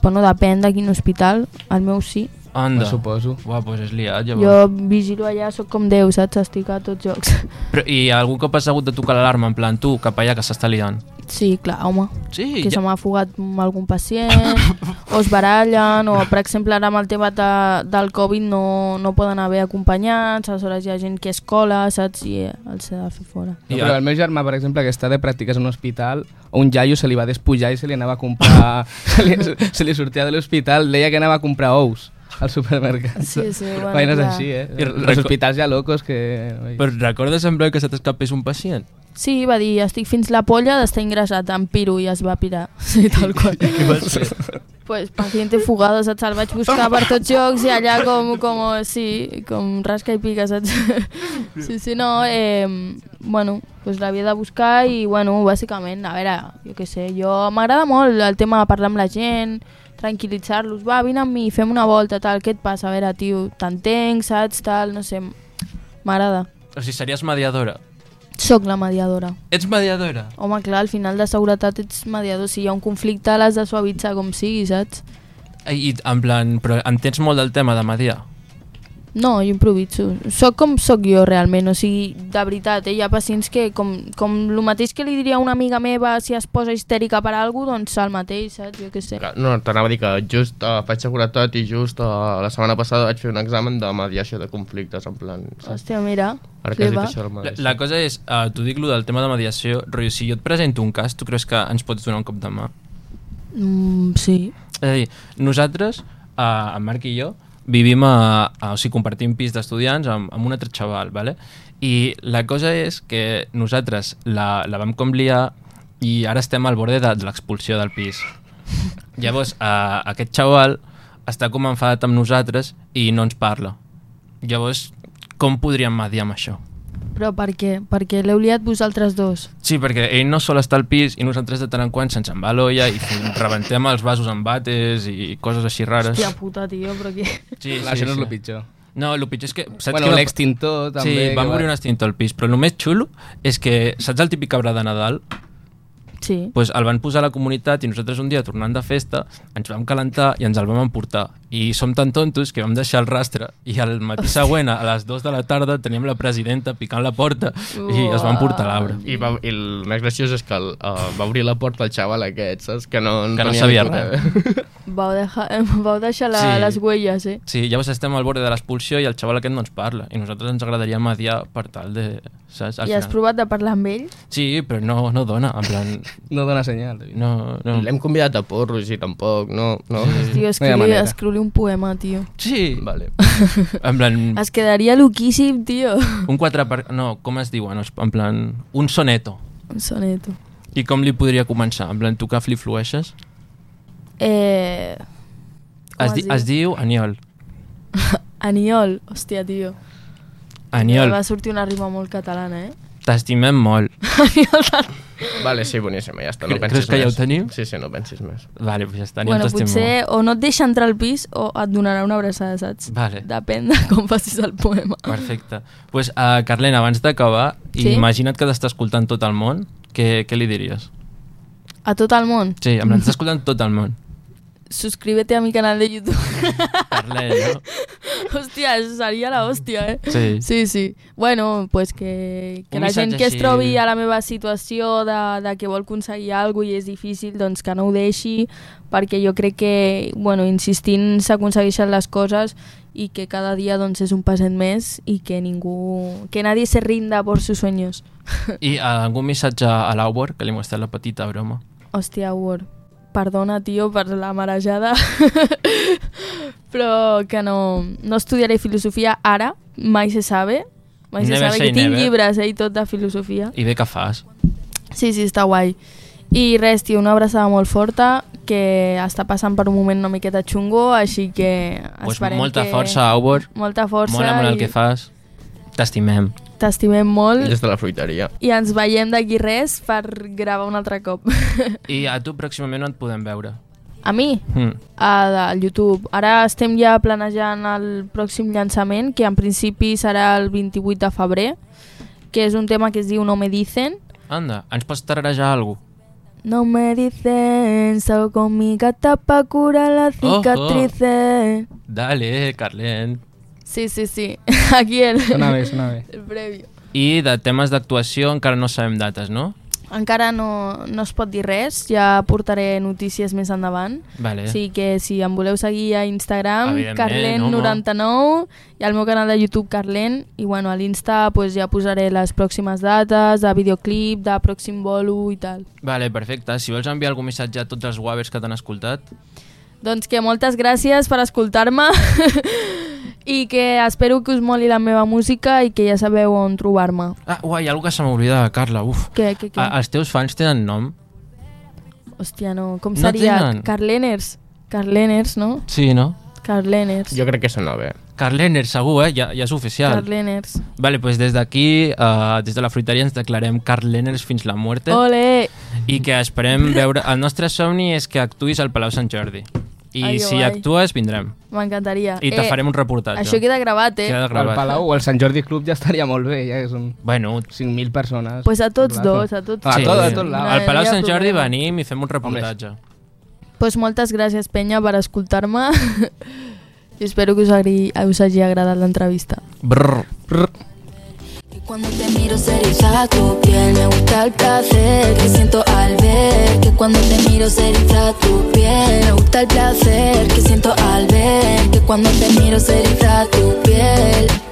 S7: Bueno, depèn de quin hospital, el meu sí.
S6: Anda.
S8: Ho suposo.
S6: Uah, doncs és liat, llavors.
S7: Jo vigilo allà, sóc com Déu, saps? Estic a tots jocs.
S6: Però, I algun cop has hagut de tocar l'alarma, en plan, tu, cap allà, que s'està liant.
S7: Sí, clar, home.
S6: Sí,
S7: que
S6: ja-
S7: se m'ha fugat amb algun pacient, o es barallen, o per exemple ara amb el tema de, del Covid no, no poden haver acompanyats, aleshores hi ha gent que es cola, saps? I eh, els s'ha de fer fora.
S8: No, però el meu germà, per exemple, que està de pràctiques en un hospital, a un iaio se li va despullar i se li anava a comprar... se, li, se li sortia de l'hospital, deia que anava a comprar ous al supermercat.
S7: Sí, sí, bueno,
S8: Vaines
S7: clar.
S8: així, eh?
S6: I
S8: Els
S6: reco-
S8: hospitals ja locos que...
S6: Però recordes en breu que se t'escapés un pacient?
S7: Sí, va dir, estic fins la polla d'estar ingressat en piro i es va pirar. Sí, tal qual.
S6: Què vas fer?
S7: pues paciente fugado, saps? El vaig buscar per tots jocs i allà com, com sí, com rasca i pica, saps? sí, sí, no, eh, bueno, pues l'havia de buscar i, bueno, bàsicament, a veure, jo què sé, jo m'agrada molt el tema de parlar amb la gent, tranquil·litzar-los, va, vine amb mi, fem una volta, tal, què et passa? A veure, tio, t'entenc, saps, tal, no sé, m'agrada.
S6: O sigui, series mediadora.
S7: Soc la mediadora.
S6: Ets mediadora?
S7: Home, clar, al final de seguretat ets mediador. Si hi ha un conflicte, l'has de suavitzar com sigui, saps?
S6: I, i en plan, però entens molt del tema de mediar?
S7: No, jo improviso. Soc com sóc jo, realment. O sigui, de veritat, eh? hi ha pacients que, com, com el mateix que li diria a una amiga meva si es posa histèrica per alguna cosa, doncs el mateix, saps? Jo què sé.
S9: No, t'anava a dir que just uh, faig seguretat i just uh, la setmana passada vaig fer un examen de mediació de conflictes, en plan... saps?
S7: Hòstia, mira,
S9: Ara que has dit
S7: flipa.
S9: això del
S6: La,
S9: mateix.
S6: la cosa és, uh, tu dic lo del tema de mediació, rotllo, si jo et presento un cas, tu creus que ens pots donar un cop de mà?
S7: Mm, sí.
S6: És a dir, nosaltres, eh, en Marc i jo, vivim a, a o sigui, compartim pis d'estudiants amb, amb un altre xaval, ¿vale? i la cosa és que nosaltres la, la vam com liar i ara estem al borde de, de l'expulsió del pis. Llavors, eh, aquest xaval està com enfadat amb nosaltres i no ens parla. Llavors, com podríem mediar amb això?
S7: Però per què? Perquè l'heu liat vosaltres dos.
S6: Sí, perquè ell no sol estar al pis i nosaltres de tant en quant se'ns en va a l'olla i rebentem els vasos amb bates i coses així rares.
S7: Hòstia puta, tio, però què...
S6: Sí,
S8: Clar, això no és lo pitjor.
S6: No, el pitjor és que... Saps
S8: Bueno,
S6: que
S8: l'extintor també,
S6: Sí, va
S8: que
S6: morir
S8: va-
S6: un extintor al pis, però el més xulo és que, saps el típic arbre de Nadal?
S7: Sí.
S6: Pues el van posar a la comunitat i nosaltres un dia, tornant de festa, ens vam calentar i ens el vam emportar. I som tan tontos que vam deixar el rastre i al matí següent, a les 2 de la tarda, teníem la presidenta picant la porta i es van portar l'arbre.
S9: I, va, I el més graciós és que el, uh, va obrir la porta el xaval aquest, saps? Que no,
S6: Que no
S9: tenia
S6: sabia
S9: ni puta
S6: res.
S9: idea.
S7: Vau, dejar, vau deixar la, sí.
S6: Sí.
S7: les huelles, eh?
S6: Sí, llavors estem al borde de l'expulsió i el xaval aquest no ens parla. I nosaltres ens agradaria mediar per tal de... Saps? Al
S7: I has
S6: final.
S7: provat de parlar amb ell?
S6: Sí, però no, no dona, en plan...
S8: No dona senyal.
S6: No, no.
S9: L'hem convidat a porros i tampoc, no... no.
S6: Mm.
S9: Sí.
S7: Tio, escriu, escriu un poema, tio.
S6: Sí. Vale. En plan,
S7: Es quedaria loquíssim, tio.
S6: un quatre per... No, com es diuen? els- En plan, un soneto.
S7: Un soneto.
S6: I com li podria començar? En plan, tu que flip-flueixes?
S7: Eh... com
S6: Es, di es diu Aniol.
S7: Aniol, hòstia, tio.
S6: Aniol,
S7: Va sortir una rima molt catalana, eh?
S6: t'estimem molt.
S9: Vale, sí, boníssima, ja està,
S6: Cre-
S9: no pensis
S6: creus que ja ho
S9: més.
S6: tenim?
S9: Sí, sí, no pensis més.
S6: Vale, pues ja està,
S7: bueno, potser o no et deixa entrar al pis o et donarà una abraçada, saps?
S6: Vale.
S7: Depèn de com facis el poema.
S6: Perfecte. Doncs, pues, uh, Carlena, abans d'acabar,
S7: Sí?
S6: sí? imagina't que t'està escoltant tot el món, què, què li diries?
S7: A tot el món.
S6: Sí, en plan, t'està escoltant tot el món.
S7: Suscríbete a mi canal de YouTube.
S6: Carlena, no?
S7: Hòstia, això seria la hòstia, eh?
S6: Sí.
S7: Sí, sí. Bueno, pues que, que
S6: Un
S7: la gent
S6: missatge
S7: que es
S6: així.
S7: trobi a la meva situació de, de que vol aconseguir alguna cosa i és difícil, doncs que no ho deixi, perquè jo crec que, bueno, insistint s'aconsegueixen les coses i que cada dia doncs és un passet més i que ningú... que nadie se rinda por sus sueños.
S6: I uh, algun missatge a l'Auber, que li hem estat la petita broma.
S7: Hòstia, Word. Perdona, tio, per la marejada. Però que no, no estudiaré filosofia ara, mai se sabe. Mai se
S6: Never
S7: sabe
S6: say
S7: que tinc
S6: never.
S7: llibres eh, i tot de filosofia.
S6: I bé que fas.
S7: Sí, sí, està guai. I res, tio, una abraçada molt forta que està passant per un moment una miqueta xungo, així que
S6: Pues
S7: esperem
S6: molta
S7: que...
S6: força, Auber.
S7: Molta força
S6: Mola molt el
S7: i
S6: que fas. T'estimem.
S7: t'estimem molt
S9: Des de la fruiteria.
S7: i ens veiem d'aquí res per gravar un altre cop.
S6: I a tu pròximament on et podem veure?
S7: A mi?
S6: Mm.
S7: a, a YouTube. Ara estem ja planejant el pròxim llançament, que en principi serà el 28 de febrer, que és un tema que es diu No me dicen.
S6: Anda, ens pots tararejar alguna cosa?
S7: No me dicen, salgo con mi gata pa curar las
S6: Ojo.
S7: cicatrices.
S6: Dale, Carlen.
S7: Sí, sí, sí. Aquí el...
S6: Sona bé, sona bé.
S7: El previo.
S6: I de temes d'actuació encara no sabem dates, no?
S7: encara no, no es pot dir res, ja portaré notícies més endavant.
S6: Vale.
S7: O sigui que si em voleu seguir a Instagram,
S6: Evidentment,
S7: Carlen99, i al meu canal de YouTube, Carlen, i bueno, a l'Insta pues, ja posaré les pròximes dates de videoclip, de pròxim bolo i tal.
S6: Vale, perfecte. Si vols enviar algun missatge a tots els guavers que t'han escoltat,
S7: Doncs que moltes gràcies per escoltar-me i que espero que us moli la meva música i que ja sabeu on trobar-me.
S6: Ah, uai, algo que se m'oblida, Carla, uf.
S7: Què, què, què?
S6: A, els teus fans tenen nom?
S7: Hòstia, no, com
S6: No
S7: seria?
S6: tenen.
S7: Carleners. Carleners, no?
S6: Sí, no?
S7: Carleners.
S9: Jo crec que sona bé.
S6: Carlener, segur, eh? Ja, ja és oficial.
S7: Carleners.
S6: Vale, pues des d'aquí, uh, des de la fruiteria, ens declarem Carleners fins la muerte.
S7: Ole!
S6: I que esperem veure... El nostre somni és que actuïs al Palau Sant Jordi. I
S7: Ai,
S6: ai,
S7: que
S6: si
S7: guai.
S6: actues, vindrem.
S7: M'encantaria. Eh,
S6: I te farem un reportatge.
S7: Això queda gravat, eh?
S6: Queda gravat.
S8: Al Palau o al Sant Jordi Club ja estaria molt bé, ja és un...
S6: Bueno,
S8: 5.000 persones.
S7: Pues a tots dos, a tots
S8: A
S7: dos.
S8: tot, a
S7: Sí.
S8: tot
S7: No
S8: lado.
S6: Al Palau
S7: hi ha
S6: Sant Jordi
S7: problema.
S6: venim i fem un reportatge.
S7: pues moltes gràcies, penya, per escoltar-me. I espero que us, agri... us hagi agradat l'entrevista.
S6: Brr.
S12: Cuando te miro se eriza tu piel, me gusta el placer que siento al ver que cuando te miro se eriza tu piel, me gusta el placer que siento al ver que cuando te miro se eriza tu piel.